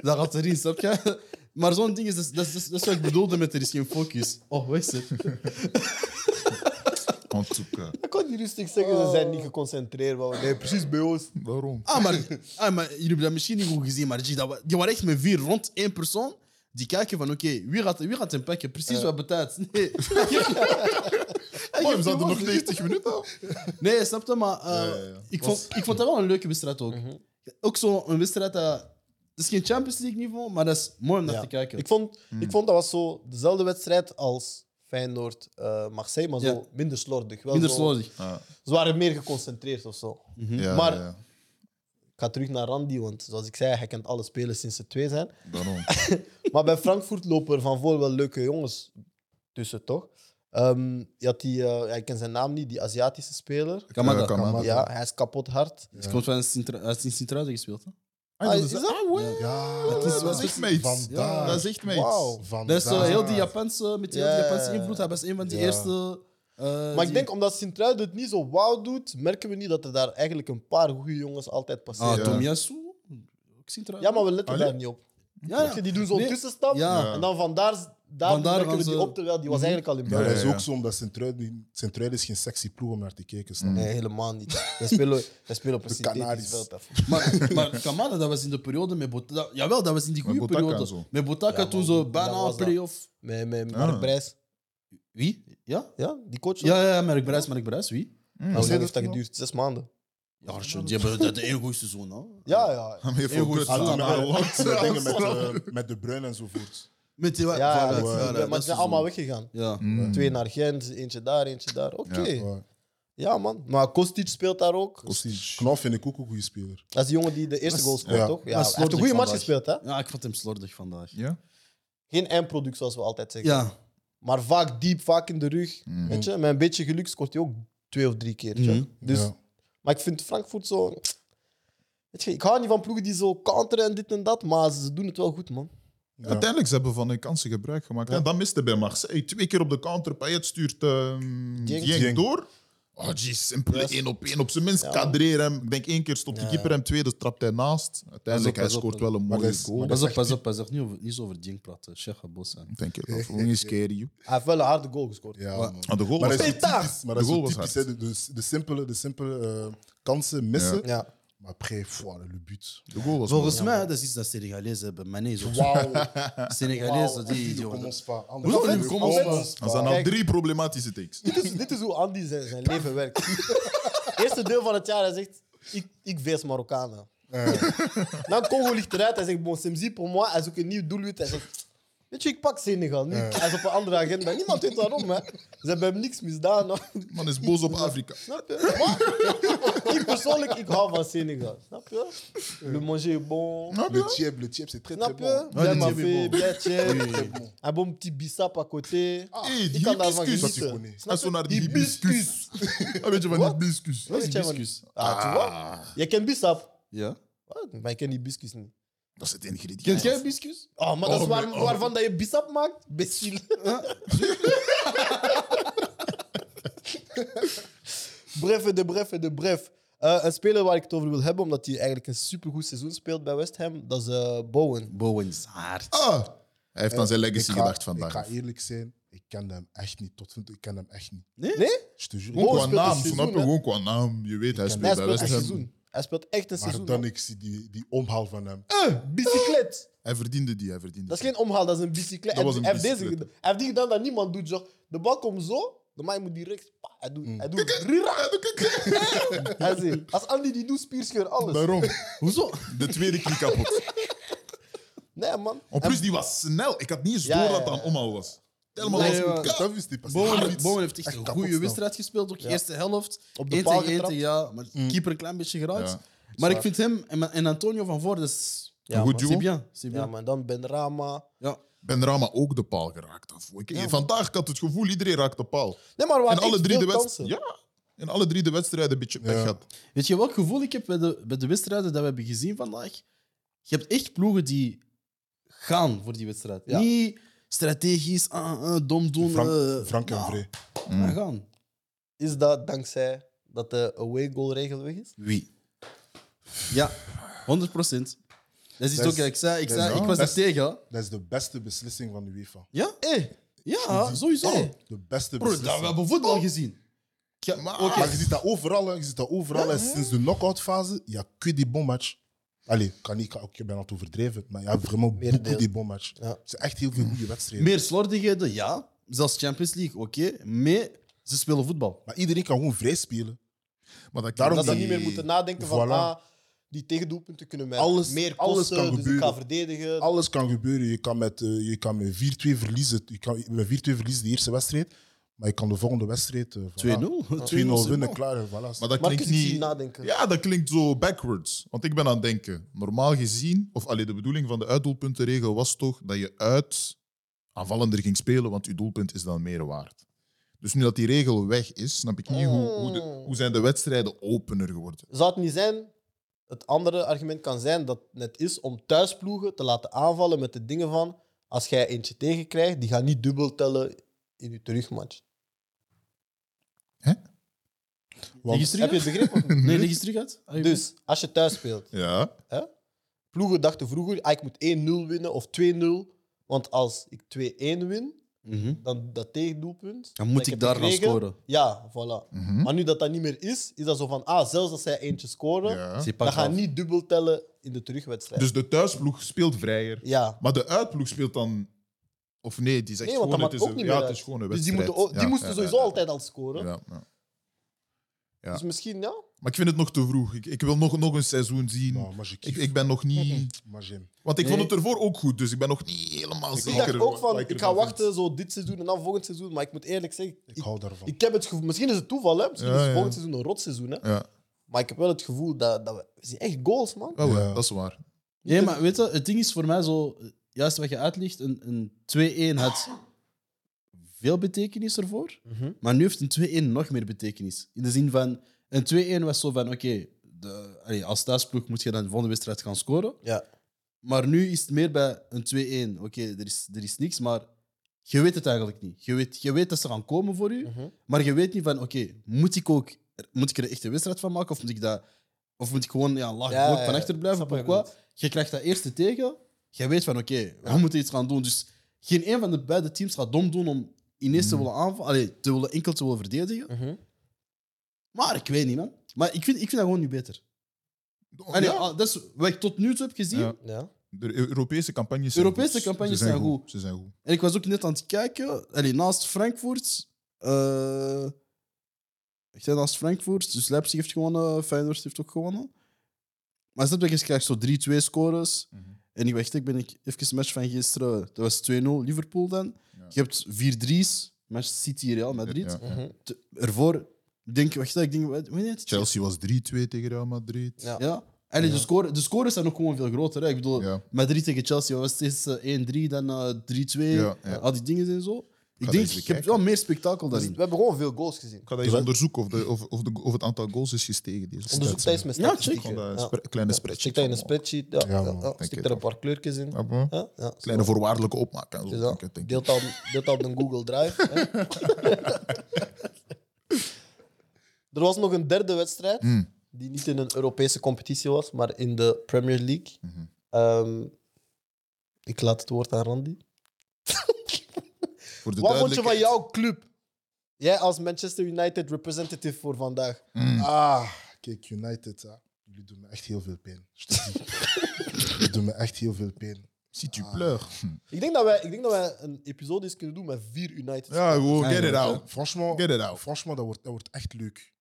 [SPEAKER 4] daar gaat erin, snap je? Maar zo'n ding is, dat is, dat is, dat is wat ik bedoelde met er is geen focus. Oh, wees het.
[SPEAKER 2] En tout cas,
[SPEAKER 1] Ik kan niet rustig zeggen, ze zijn niet geconcentreerd. Maar nee, precies bij ons.
[SPEAKER 2] waarom?
[SPEAKER 4] Ah, maar, ah, maar jullie hebben dat misschien niet goed gezien, maar die, dat, wa- die waren echt met vier rond één persoon. Die kijken van, oké, wie, gaat, wie gaat hem pakken? Precies wat betaalt. Nee.
[SPEAKER 2] we zaten nog 90 minuten af.
[SPEAKER 4] Nee, snap je? Maar eh,
[SPEAKER 2] Ja, ja, ja.
[SPEAKER 4] Ik, vond, ik vond dat wel een leuke wedstrijd
[SPEAKER 1] Mhm,
[SPEAKER 4] ook. Ook zo'n wedstrijd dat... Het is geen Champions League niveau, maar dat is mooi om naar
[SPEAKER 1] Ja.
[SPEAKER 4] te kijken.
[SPEAKER 1] Ik vond,
[SPEAKER 4] Mhm.
[SPEAKER 1] ik vond dat was zo dezelfde wedstrijd als Feyenoord-Marseille, maar
[SPEAKER 4] Ja.
[SPEAKER 1] zo minder slordig. Wel
[SPEAKER 4] Minder
[SPEAKER 1] zo-
[SPEAKER 4] slordig. Mhm.
[SPEAKER 2] Ja,
[SPEAKER 1] Ze waren meer geconcentreerd of zo.
[SPEAKER 2] Ah, ja,
[SPEAKER 1] Hm? Maar-
[SPEAKER 2] ja,
[SPEAKER 1] Ik ga terug naar Randy, want zoals ik zei, hij kent alle spelers sinds ze twee zijn.
[SPEAKER 2] daarom.
[SPEAKER 1] Maar bij Frankfurt lopen er van voor wel leuke jongens tussen, toch? Ehm je had die, eh, ja, ik ken zijn naam niet, die Aziatische speler.
[SPEAKER 4] Kamada.
[SPEAKER 2] Eh, Kamada.
[SPEAKER 3] Kamada.
[SPEAKER 1] Ja, hij is kapot hard.
[SPEAKER 4] Het komt van Sintra- hij is in Sint-Truiden gespeeld. Hè?
[SPEAKER 2] Ah,
[SPEAKER 1] Ah,
[SPEAKER 2] dat is-
[SPEAKER 1] is dat?
[SPEAKER 2] ah, wow.
[SPEAKER 3] Ja,
[SPEAKER 4] Het is wel
[SPEAKER 2] Dat zegt mij iets.
[SPEAKER 3] Vandaar.
[SPEAKER 2] Dat zegt mij
[SPEAKER 1] Wauw.
[SPEAKER 2] iets.
[SPEAKER 3] Vandaar.
[SPEAKER 4] Dat is eh, heel die Japanse, met die heel die
[SPEAKER 1] Ja.
[SPEAKER 4] Japanse invloed. Hij was een van die
[SPEAKER 3] Ja.
[SPEAKER 4] eerste... eh,
[SPEAKER 1] Maar
[SPEAKER 4] die-
[SPEAKER 1] ik denk, omdat Sint-Truiden het niet zo wauw doet, merken we niet dat er daar eigenlijk een paar goede jongens altijd
[SPEAKER 4] Ah,
[SPEAKER 1] passeren.
[SPEAKER 2] Ja.
[SPEAKER 4] Tomiyasu? Ook Sint-Truiden?
[SPEAKER 1] Ja, maar we letten
[SPEAKER 2] Allee?
[SPEAKER 1] daar niet op.
[SPEAKER 4] Ja, ja.
[SPEAKER 1] Weet je, Die doen zo'n
[SPEAKER 4] Nee.
[SPEAKER 1] tussenstap
[SPEAKER 4] Ja.
[SPEAKER 1] en dan vandaar, daar
[SPEAKER 4] Vandaar
[SPEAKER 1] merken
[SPEAKER 4] gaan
[SPEAKER 1] we die
[SPEAKER 4] ze-
[SPEAKER 1] op, terwijl die was
[SPEAKER 4] Mhm.
[SPEAKER 1] eigenlijk al in
[SPEAKER 3] Ja,
[SPEAKER 1] beeld.
[SPEAKER 3] dat is
[SPEAKER 2] Ja, ja.
[SPEAKER 3] ook zo, omdat Centruid is geen sexy ploeg om naar te kijken. Snap je?
[SPEAKER 1] Nee, helemaal niet. Wij spelen, wij spelen op een
[SPEAKER 3] De
[SPEAKER 1] synthetisch
[SPEAKER 3] Canaries.
[SPEAKER 1] veld. af.
[SPEAKER 4] Maar, maar Kamada, dat was in de periode met Botaka. dat- Jawel, dat was in die
[SPEAKER 2] Met
[SPEAKER 4] goede
[SPEAKER 2] Bottaka
[SPEAKER 4] periode.
[SPEAKER 2] en zo.
[SPEAKER 4] Met Botaka
[SPEAKER 1] Ja, maar
[SPEAKER 4] toen
[SPEAKER 1] hoe-
[SPEAKER 4] zo
[SPEAKER 1] hoe dat
[SPEAKER 4] bijna
[SPEAKER 1] was
[SPEAKER 4] een
[SPEAKER 1] dat?
[SPEAKER 4] play-off.
[SPEAKER 1] Met, met
[SPEAKER 2] Ah.
[SPEAKER 1] Mark Brijs.
[SPEAKER 4] Wie? Ja?
[SPEAKER 1] Ja, die coach.
[SPEAKER 4] Ja, ja, ja Merk Bruijs, Merk Bruijs. Wie?
[SPEAKER 1] Hoe
[SPEAKER 2] Mm.
[SPEAKER 1] lang
[SPEAKER 3] dat
[SPEAKER 1] heeft dat
[SPEAKER 3] nou?
[SPEAKER 1] geduurd? Zes maanden.
[SPEAKER 4] Ja, Artje, die hebben dat de eeuwigste seizoen. hè.
[SPEAKER 1] Ja, ja.
[SPEAKER 2] Maar je
[SPEAKER 4] Heel goed.
[SPEAKER 2] focust
[SPEAKER 3] Ah,
[SPEAKER 2] aan
[SPEAKER 3] toen
[SPEAKER 2] haar
[SPEAKER 3] met-
[SPEAKER 2] land.
[SPEAKER 3] met dingen met, eh, met de Bruin enzovoort.
[SPEAKER 4] Met die wa-
[SPEAKER 1] Ja,
[SPEAKER 4] voilà,
[SPEAKER 1] dat- maar
[SPEAKER 4] voilà, dat dus
[SPEAKER 1] die zijn
[SPEAKER 4] seizoen.
[SPEAKER 1] allemaal weggegaan.
[SPEAKER 4] Ja.
[SPEAKER 2] Mm.
[SPEAKER 1] Twee naar Gent, eentje daar, eentje daar. Oké. Ja.
[SPEAKER 3] Ja.
[SPEAKER 1] man. Maar Kostic speelt daar ook.
[SPEAKER 2] Kostic.
[SPEAKER 3] Knal vind ik ook een goede speler.
[SPEAKER 1] Dat is die jongen die de eerste
[SPEAKER 4] Maar-
[SPEAKER 1] goal scoort,
[SPEAKER 3] ja.
[SPEAKER 1] toch? Ja,
[SPEAKER 4] Maar
[SPEAKER 1] hij heeft een goede
[SPEAKER 4] slordig
[SPEAKER 1] match
[SPEAKER 4] vandaag.
[SPEAKER 1] gespeeld, hè?
[SPEAKER 4] ja, ik vond hem slordig vandaag.
[SPEAKER 2] Ja?
[SPEAKER 1] Geen eindproduct, zoals we altijd zeggen.
[SPEAKER 4] Ja.
[SPEAKER 1] Maar vaak diep, vaak in de rug.
[SPEAKER 2] Mm.
[SPEAKER 1] Weet je? Met een beetje geluk scoort hij ook twee of drie keer.
[SPEAKER 4] Mhm.
[SPEAKER 1] Dus,
[SPEAKER 3] Ja.
[SPEAKER 1] Maar ik vind Frankfurt zo... Weet je, ik hou niet van ploegen die zo counteren en dit en dat, maar ze doen het wel goed, man.
[SPEAKER 3] Ja.
[SPEAKER 2] Uiteindelijk ze hebben van hun kansen gebruik gemaakt. En dat miste bij Marseille. Twee keer op de counter. Payet stuurt ehm
[SPEAKER 1] Dieng.
[SPEAKER 2] Dieng
[SPEAKER 3] Dieng.
[SPEAKER 2] door. Oh, jee, simpele
[SPEAKER 1] Yes.
[SPEAKER 2] één op één. Op zijn minst
[SPEAKER 1] Ja.
[SPEAKER 2] kadreer hem. Ik denk één keer stopt de keeper hem, tweede trapt hij naast. Uiteindelijk,
[SPEAKER 4] Pas op,
[SPEAKER 2] hij
[SPEAKER 4] pas op,
[SPEAKER 2] scoort
[SPEAKER 4] pas
[SPEAKER 2] wel een mooie
[SPEAKER 3] Maar dat is-
[SPEAKER 2] goal.
[SPEAKER 3] maar
[SPEAKER 4] Pas op, pas op, pas op. Niet over, niet zo over Ding praten. Sheikh Abbas. hè.
[SPEAKER 2] Denk je, dat vond ik scary. joh.
[SPEAKER 1] Hij heeft wel een harde goal gescoord.
[SPEAKER 3] Ja,
[SPEAKER 4] Maar-
[SPEAKER 3] man.
[SPEAKER 2] Ah, de goal
[SPEAKER 3] Maar
[SPEAKER 2] was
[SPEAKER 3] dat is
[SPEAKER 2] hard.
[SPEAKER 3] zo typisch, maar dat is
[SPEAKER 2] De
[SPEAKER 3] zo
[SPEAKER 2] goal was
[SPEAKER 3] typisch, hè,
[SPEAKER 2] hard.
[SPEAKER 3] de, de, de simpele, de simpele eh, kansen missen.
[SPEAKER 1] Ja.
[SPEAKER 3] Maar après, voor le but.
[SPEAKER 2] De goal was
[SPEAKER 4] Volgens
[SPEAKER 2] mooi.
[SPEAKER 4] mij, dat is iets dat Senegalezen hebben. Mané is ook zo.
[SPEAKER 3] Wauw.
[SPEAKER 4] Senegalezen, die... die
[SPEAKER 3] Kom ons pas.
[SPEAKER 4] Hoezo
[SPEAKER 1] Op
[SPEAKER 4] die
[SPEAKER 1] het- op
[SPEAKER 4] kom ons
[SPEAKER 1] het-
[SPEAKER 4] pas?
[SPEAKER 2] Er zijn al
[SPEAKER 1] Kijk,
[SPEAKER 2] nou drie problematische takes.
[SPEAKER 1] Dit is, Dus dit is hoe Andy zijn, zijn leven werkt. Eerste deel van het jaar, hij zegt: Ik, ik vees Marokkanen. Dan Congo ligt eruit, hij zegt: Bon, c'est mzi pour moi. Hij zoekt een nieuw doelwit. Hij zegt: Weet je, ik pak Senegal nu.
[SPEAKER 3] Ja.
[SPEAKER 1] Hij is op een andere agenda. Niemand weet waarom, hè. Ze hebben hem niks misdaan. hoor.
[SPEAKER 2] Man is boos op Afrika.
[SPEAKER 1] Snap je? Maar ik persoonlijk, ik hou van Senegal. Snap je? Le manger est bon.
[SPEAKER 2] Snap
[SPEAKER 3] Le
[SPEAKER 2] je?
[SPEAKER 3] tjeb, le tjeb, c'est très très
[SPEAKER 1] Snap
[SPEAKER 3] bon.
[SPEAKER 1] je?
[SPEAKER 4] Ouais,
[SPEAKER 1] Bien
[SPEAKER 4] le
[SPEAKER 1] maffé,
[SPEAKER 4] diable est bon.
[SPEAKER 1] bien
[SPEAKER 3] Très,
[SPEAKER 1] tiède.
[SPEAKER 3] très bon.
[SPEAKER 1] Un bon petit bissap à côté.
[SPEAKER 3] Ah,
[SPEAKER 2] Hey,
[SPEAKER 1] ik
[SPEAKER 2] die
[SPEAKER 1] kan daarvan
[SPEAKER 2] hibiscus.
[SPEAKER 3] Ça, tu
[SPEAKER 1] genieten.
[SPEAKER 3] connais.
[SPEAKER 1] Snap
[SPEAKER 2] Hij
[SPEAKER 1] je?
[SPEAKER 2] zo naar die
[SPEAKER 1] Hibiscus.
[SPEAKER 2] hibiscus. Ah, Weet je van die hibiscus?
[SPEAKER 1] Wat?
[SPEAKER 4] Wat is
[SPEAKER 1] Weet jij wat-
[SPEAKER 4] hibiscus?
[SPEAKER 1] Ah, tu vois? Je kent bissap.
[SPEAKER 4] Ja.
[SPEAKER 1] Wat? Maar ik ken hibiscus niet.
[SPEAKER 2] Dat is het ingrediënt.
[SPEAKER 4] Kent jij hibiscus?
[SPEAKER 1] Oh, maar dat is
[SPEAKER 2] Oh,
[SPEAKER 1] waar-
[SPEAKER 2] maar- oh.
[SPEAKER 1] waarvan dat je bissap maakt? Bessil. bref, de bref, de bref. Eh, een speler waar ik het over wil hebben, omdat hij eigenlijk een supergoed seizoen speelt bij West Ham, dat is eh, Bowen.
[SPEAKER 4] Bowen is hard.
[SPEAKER 2] Ah, hij heeft aan zijn legacy
[SPEAKER 3] Ik ga-
[SPEAKER 2] gedacht
[SPEAKER 3] Ik ga
[SPEAKER 2] vandaag.
[SPEAKER 3] eerlijk zijn, ik ken hem echt niet. Tot, ik ken hem echt niet.
[SPEAKER 4] Nee?
[SPEAKER 1] Nee?
[SPEAKER 3] Je te jure.
[SPEAKER 1] Bowen
[SPEAKER 2] Gewoon qua
[SPEAKER 1] speelt een
[SPEAKER 2] naam,
[SPEAKER 1] seizoen,
[SPEAKER 2] snap je?
[SPEAKER 1] hè?
[SPEAKER 2] Gewoon qua naam. Je weet, hij
[SPEAKER 3] ken
[SPEAKER 1] Hij
[SPEAKER 2] speelt bij
[SPEAKER 1] speelt
[SPEAKER 2] West
[SPEAKER 1] echt
[SPEAKER 2] Ham.
[SPEAKER 1] seizoen. Hij speelt echt een
[SPEAKER 3] Maar
[SPEAKER 1] seizoen.
[SPEAKER 3] dan ik zie die, die omhaal van hem.
[SPEAKER 1] Een bicyclet.
[SPEAKER 2] Hij verdiende die, hij verdiende
[SPEAKER 1] Dat is
[SPEAKER 2] die.
[SPEAKER 1] geen omhaal, dat is een bicyclet.
[SPEAKER 2] Dat was
[SPEAKER 1] Hij-
[SPEAKER 2] een
[SPEAKER 1] hij, heeft deze
[SPEAKER 2] bicyclet.
[SPEAKER 1] gedaan. hij heeft die gedaan dat niemand doet. Joh. De bal komt zo, de man moet direct... pa, Hij doet...
[SPEAKER 2] Mm.
[SPEAKER 1] Hij doet rira. Hij zegt, Als Andy die doet, spierscheur, alles.
[SPEAKER 2] Daarom.
[SPEAKER 4] Hoezo?
[SPEAKER 2] De tweede knie kapot.
[SPEAKER 1] Nee, man.
[SPEAKER 2] En plus, die was snel. Ik had niet eens
[SPEAKER 1] Ja,
[SPEAKER 2] door
[SPEAKER 1] ja,
[SPEAKER 2] dat het
[SPEAKER 1] ja.
[SPEAKER 2] aan omhaal was. Telma
[SPEAKER 4] Nee,
[SPEAKER 2] was
[SPEAKER 4] maar-
[SPEAKER 2] een
[SPEAKER 3] Dat wist hij pas.
[SPEAKER 4] Bowen,
[SPEAKER 3] Hard.
[SPEAKER 4] Bowen heeft echt
[SPEAKER 3] Echt
[SPEAKER 4] een
[SPEAKER 3] kapot
[SPEAKER 4] goede
[SPEAKER 3] snel.
[SPEAKER 4] wedstrijd gespeeld. Ook
[SPEAKER 1] Ja.
[SPEAKER 4] eerste helft.
[SPEAKER 1] Op de
[SPEAKER 4] Eén
[SPEAKER 1] paal
[SPEAKER 4] tegen één
[SPEAKER 1] getrapt. Mm.
[SPEAKER 4] tegen- ja, maar keeper een klein beetje geraakt.
[SPEAKER 2] Ja.
[SPEAKER 4] Maar ik
[SPEAKER 1] Zwaar.
[SPEAKER 4] vind hem en, en Antonio van voor, dat is...
[SPEAKER 1] Ja,
[SPEAKER 2] goed
[SPEAKER 1] man.
[SPEAKER 2] duo.
[SPEAKER 4] C'est bien, c'est
[SPEAKER 1] Ja,
[SPEAKER 4] bien.
[SPEAKER 1] maar dan Ben Rama.
[SPEAKER 4] Ja.
[SPEAKER 2] Ben Rama ook de paal geraakt. daarvoor. Ik,
[SPEAKER 1] Ja.
[SPEAKER 2] Vandaag ik had het gevoel, iedereen raakt de paal.
[SPEAKER 1] Nee, maar we
[SPEAKER 2] In
[SPEAKER 1] hadden
[SPEAKER 2] alle,
[SPEAKER 1] echt
[SPEAKER 2] drie de
[SPEAKER 1] veel
[SPEAKER 2] wedst-
[SPEAKER 1] kansen.
[SPEAKER 2] ja, in alle drie de wedstrijden een beetje pech
[SPEAKER 3] Ja.
[SPEAKER 2] gehad.
[SPEAKER 4] Weet je welk gevoel ik heb bij de, bij de wedstrijden dat we hebben gezien vandaag? Je hebt echt ploegen die gaan voor die wedstrijd.
[SPEAKER 1] Ja.
[SPEAKER 4] Niet strategisch, ah, ah, dom doen. eh,
[SPEAKER 3] Frank, Mm. Frank en
[SPEAKER 4] nou,
[SPEAKER 3] Vrij.
[SPEAKER 4] maar gaan.
[SPEAKER 1] Is dat dankzij dat de away goal regel weg is?
[SPEAKER 4] Wie? Ja, 100 procent. Dat is
[SPEAKER 3] Dat
[SPEAKER 4] ook,
[SPEAKER 3] is-
[SPEAKER 4] ik zei, ik,
[SPEAKER 3] dat
[SPEAKER 4] zei,
[SPEAKER 3] is-
[SPEAKER 4] ik was
[SPEAKER 3] dat
[SPEAKER 4] er
[SPEAKER 3] is-
[SPEAKER 4] tegen.
[SPEAKER 3] Dat is de beste beslissing van de UEFA.
[SPEAKER 4] Ja?
[SPEAKER 1] Eh,
[SPEAKER 4] Ja, sowieso.
[SPEAKER 3] Oh, de beste
[SPEAKER 4] Broer, dat
[SPEAKER 3] beslissing.
[SPEAKER 4] we hebben voetbal
[SPEAKER 1] Oh,
[SPEAKER 4] gezien.
[SPEAKER 2] maar,
[SPEAKER 3] Maar je ziet dat overal, hè. je ziet dat overal. En sinds de knock-out fase, je hebt que die bon match. Allee, kan niet, oké, ik ben aan het overdreven, maar je hebt vraiment
[SPEAKER 1] Meer
[SPEAKER 3] beaucoup
[SPEAKER 1] deel.
[SPEAKER 3] die bon match.
[SPEAKER 1] Ja.
[SPEAKER 3] Het zijn echt heel veel goede wedstrijden.
[SPEAKER 4] Meer slordigheden, ja. Zelfs Champions League, oké. Maar ze spelen voetbal.
[SPEAKER 3] Maar iedereen kan gewoon vrij spelen.
[SPEAKER 2] maar dat
[SPEAKER 1] dat
[SPEAKER 3] Daarom
[SPEAKER 1] ze
[SPEAKER 3] die-
[SPEAKER 1] niet meer moeten nadenken van
[SPEAKER 3] Voilà.
[SPEAKER 1] ah, die tegendoelpunten kunnen mij
[SPEAKER 3] Alles-
[SPEAKER 1] meer kosten,
[SPEAKER 3] alles kan
[SPEAKER 1] dus ik
[SPEAKER 3] gebeuren.
[SPEAKER 1] ga verdedigen.
[SPEAKER 3] Alles kan gebeuren. Je kan met, eh, je kan met 4-2 verliezen. Je kan met 4-2 verliezen de eerste wedstrijd, maar je kan de volgende wedstrijd eh, voilà.
[SPEAKER 4] 2-0.
[SPEAKER 3] 2-0
[SPEAKER 4] 2-0
[SPEAKER 3] winnen,
[SPEAKER 4] winnen.
[SPEAKER 3] klaar. en Voilà.
[SPEAKER 2] Maar dat
[SPEAKER 1] Marcus,
[SPEAKER 2] klinkt
[SPEAKER 1] ik zie
[SPEAKER 2] niet...
[SPEAKER 1] je nadenken.
[SPEAKER 2] Ja, dat klinkt zo backwards. Want ik ben aan het denken, normaal gezien, of allee, de bedoeling van de uitdoelpuntenregel was toch dat je uit aanvallender ging spelen, want je doelpunt is dan meer waard. Dus nu dat die regel weg is, snap ik niet hoe, hoe, de-
[SPEAKER 1] Oh.
[SPEAKER 2] hoe zijn de wedstrijden opener geworden.
[SPEAKER 1] Zou het niet zijn, het andere argument kan zijn dat het net is om thuisploegen te laten aanvallen met de dingen van als jij eentje tegenkrijgt, die gaan niet dubbel tellen in je terugmatch.
[SPEAKER 3] Want-
[SPEAKER 1] Heb je het begrepen? of niet?
[SPEAKER 4] Nee, leg eens terug uit. Ah, je
[SPEAKER 1] Dus als je thuis speelt,
[SPEAKER 2] Ja,
[SPEAKER 1] ploegen dachten vroeger, ah, ik moet 1-0 winnen of 2-0. Want als ik 2-1 win,
[SPEAKER 4] bent- Mhm.
[SPEAKER 1] dan dat tegendoelpunt.
[SPEAKER 4] Dan moet
[SPEAKER 1] dat
[SPEAKER 4] ik
[SPEAKER 1] heb
[SPEAKER 4] daar gaan
[SPEAKER 1] gekregen,
[SPEAKER 4] scoren.
[SPEAKER 1] Ja, voilà.
[SPEAKER 2] Mhm.
[SPEAKER 1] Maar nu dat dat niet meer is, is dat zo van, ah, zelfs als zij eentje scoren,
[SPEAKER 2] ja.
[SPEAKER 4] Ze
[SPEAKER 1] dan
[SPEAKER 4] pakken
[SPEAKER 1] gaan
[SPEAKER 4] af.
[SPEAKER 1] niet dubbel tellen in de terugwedstrijd.
[SPEAKER 2] Dus de thuisploeg speelt vrijer,
[SPEAKER 1] ja.
[SPEAKER 2] maar de uitploeg speelt dan... Of nee, die zegt
[SPEAKER 1] Nee, want
[SPEAKER 2] gewoon,
[SPEAKER 1] dat
[SPEAKER 2] het
[SPEAKER 1] maakt
[SPEAKER 2] is,
[SPEAKER 1] ook
[SPEAKER 2] een,
[SPEAKER 1] niet
[SPEAKER 2] ja,
[SPEAKER 1] meer
[SPEAKER 2] het
[SPEAKER 1] uit.
[SPEAKER 2] is gewoon een
[SPEAKER 1] Dus die,
[SPEAKER 2] wedstrijd.
[SPEAKER 1] moeten, ook- die
[SPEAKER 2] Ja,
[SPEAKER 1] moesten
[SPEAKER 2] ja,
[SPEAKER 1] sowieso
[SPEAKER 2] ja, ja.
[SPEAKER 1] altijd al scoren.
[SPEAKER 2] Ja, ja. Ja.
[SPEAKER 1] Dus misschien, ja.
[SPEAKER 2] Maar ik vind het nog te vroeg. Ik, ik wil nog, nog een seizoen zien.
[SPEAKER 3] Nou, maar je
[SPEAKER 2] ik,
[SPEAKER 3] kieft,
[SPEAKER 2] ik ben nog niet...
[SPEAKER 3] maar j'aime.
[SPEAKER 2] Want ik
[SPEAKER 4] Nee.
[SPEAKER 2] vond het ervoor ook goed, dus ik ben nog niet helemaal
[SPEAKER 1] Ik
[SPEAKER 2] zeker.
[SPEAKER 1] dacht ook
[SPEAKER 2] wat-
[SPEAKER 1] van,
[SPEAKER 2] wat
[SPEAKER 1] ik
[SPEAKER 2] ervan
[SPEAKER 1] ga
[SPEAKER 2] vind.
[SPEAKER 1] wachten zo dit seizoen en dan volgend seizoen. Maar ik moet eerlijk zeggen,
[SPEAKER 3] Ik
[SPEAKER 1] ik,
[SPEAKER 3] hou daarvan.
[SPEAKER 1] ik heb het gevoel... Misschien is het toeval, hè. Misschien
[SPEAKER 2] Ja,
[SPEAKER 1] is het
[SPEAKER 2] ja.
[SPEAKER 1] volgend seizoen een rotseizoen, hè.
[SPEAKER 2] Ja,
[SPEAKER 1] Maar ik heb wel het gevoel dat, dat we... We zien echt goals, man.
[SPEAKER 2] wel,
[SPEAKER 3] Ja.
[SPEAKER 2] dat is waar.
[SPEAKER 4] Nee, maar weet je, het ding is voor mij zo, eh, juist wat je uitlicht, een, een 2-1 had veel betekenis ervoor,
[SPEAKER 1] Mhm.
[SPEAKER 4] maar nu heeft een 2-1 nog meer betekenis. In de zin van, een 2-1 was zo van, oké, de- allee, als thuisploeg moet je dan de volgende wedstrijd gaan scoren,
[SPEAKER 1] Ja.
[SPEAKER 4] maar nu is het meer bij een 2-1, oké, er, is, er is niks, maar je weet het eigenlijk niet. Je weet, je weet dat ze gaan komen voor je,
[SPEAKER 1] Mhm.
[SPEAKER 4] maar je weet niet van, oké, moet ik ook, moet ik er echt een wedstrijd van maken, of moet ik dat... Of moet ik gewoon ja, laag
[SPEAKER 1] Ja,
[SPEAKER 4] blok
[SPEAKER 1] ja,
[SPEAKER 4] van
[SPEAKER 1] ja.
[SPEAKER 4] achter blijven?
[SPEAKER 1] Snap wat je
[SPEAKER 4] Pourquoi?
[SPEAKER 1] bedoelt.
[SPEAKER 4] je krijgt dat eerste tegen. Je weet van, oké, we moeten iets gaan doen. Dus geen een van de beide teams gaat dom doen om ineens te willen aanvallen. Allee, te willen enkel te willen verdedigen.
[SPEAKER 1] Mhm.
[SPEAKER 4] Maar ik weet niet, man. Maar ik vind, ik vind dat gewoon nu beter. En ja,
[SPEAKER 2] Ja,
[SPEAKER 4] ah, dat is wat ik tot nu toe heb gezien.
[SPEAKER 2] Ja.
[SPEAKER 1] Ja.
[SPEAKER 2] de Europese campagnes zijn
[SPEAKER 4] Europese
[SPEAKER 2] goed.
[SPEAKER 4] campagnes
[SPEAKER 2] Ze
[SPEAKER 4] zijn goed.
[SPEAKER 2] Ze zijn goed.
[SPEAKER 4] En ik was ook net aan het kijken. Allee, naast Frankfurt... eh, ik zei naast Frankfurt. Dus Leipzig heeft gewonnen. Feyenoord heeft ook gewonnen. Maar snap dat je krijgt zo 3-2 scores.
[SPEAKER 2] Mhm.
[SPEAKER 4] En ik wacht, ik ben ik even een match van gisteren. Dat was 2-0 Liverpool dan. Je hebt 4-3's, match City Real Madrid.
[SPEAKER 2] Ja, ja.
[SPEAKER 1] Mhm.
[SPEAKER 4] Te- Ervoor, ik denk wacht, ik denk, wat- wanneer het?
[SPEAKER 2] Chelsea was 3-2 tegen Real Madrid.
[SPEAKER 1] Ja. Dus
[SPEAKER 4] Ja. En de, score, de scores zijn ook gewoon veel groter. Hè. Ik bedoel,
[SPEAKER 2] Ja.
[SPEAKER 4] Madrid tegen Chelsea was steeds eh, 1-3, dan eh, 3-2.
[SPEAKER 2] Ja, ja.
[SPEAKER 4] Al die dingen en zo. Ik
[SPEAKER 2] dat
[SPEAKER 4] denk,
[SPEAKER 2] eens
[SPEAKER 4] je hebt
[SPEAKER 2] bekijken.
[SPEAKER 4] wel meer spektakel
[SPEAKER 1] Dus
[SPEAKER 4] daarin.
[SPEAKER 1] we hebben gewoon veel goals gezien.
[SPEAKER 2] Ik ga dat eens onderzoeken of, de, of, of, de, of het aantal goals is gestegen. Deze
[SPEAKER 1] Onderzoek
[SPEAKER 2] stats,
[SPEAKER 1] tijdens met
[SPEAKER 4] Ja, check.
[SPEAKER 2] hè. Ik ga
[SPEAKER 1] statistieken.
[SPEAKER 2] daar een
[SPEAKER 1] Ja.
[SPEAKER 2] spre- kleine
[SPEAKER 1] Stik
[SPEAKER 2] spreadsheet
[SPEAKER 1] dat in een
[SPEAKER 2] van maken.
[SPEAKER 1] spreadsheet. Ja,
[SPEAKER 3] Ja,
[SPEAKER 1] ja,
[SPEAKER 3] man,
[SPEAKER 1] ja.
[SPEAKER 2] denk
[SPEAKER 1] Stik
[SPEAKER 2] het
[SPEAKER 1] er een
[SPEAKER 2] wel.
[SPEAKER 1] paar kleurtjes in.
[SPEAKER 2] Ja, man.
[SPEAKER 1] Ja, ja,
[SPEAKER 2] Kleine
[SPEAKER 1] zo.
[SPEAKER 2] voorwaardelijke opmaak. en zo,
[SPEAKER 1] Dus dat,
[SPEAKER 2] denk ik, denk ik.
[SPEAKER 1] Deelt dat op- deelt dat op een Google Drive. hè. er was nog een derde wedstrijd.
[SPEAKER 2] Hmm.
[SPEAKER 1] die niet in een Europese competitie was, maar in de Premier League.
[SPEAKER 2] Mhm.
[SPEAKER 1] Ehm, ik laat het woord aan Randy.
[SPEAKER 2] Voor de
[SPEAKER 1] Wat vond je van
[SPEAKER 2] duidelijkheid-
[SPEAKER 1] jouw club? Jij als Manchester United representative voor vandaag.
[SPEAKER 2] Mm.
[SPEAKER 3] Ah, kijk, United, hè. jullie doen me echt heel veel pijn. jullie doen me echt heel veel pijn.
[SPEAKER 2] Ziet u
[SPEAKER 3] Ah.
[SPEAKER 2] pleur.
[SPEAKER 1] Ik denk dat wij, ik denk dat wij een episode eens kunnen doen met vier United.
[SPEAKER 2] Ja, gewoon
[SPEAKER 4] Ja,
[SPEAKER 2] get it
[SPEAKER 4] ja.
[SPEAKER 2] out.
[SPEAKER 3] Ah, Franchement,
[SPEAKER 2] Get it out.
[SPEAKER 3] franchement dat, wordt, dat wordt echt leuk.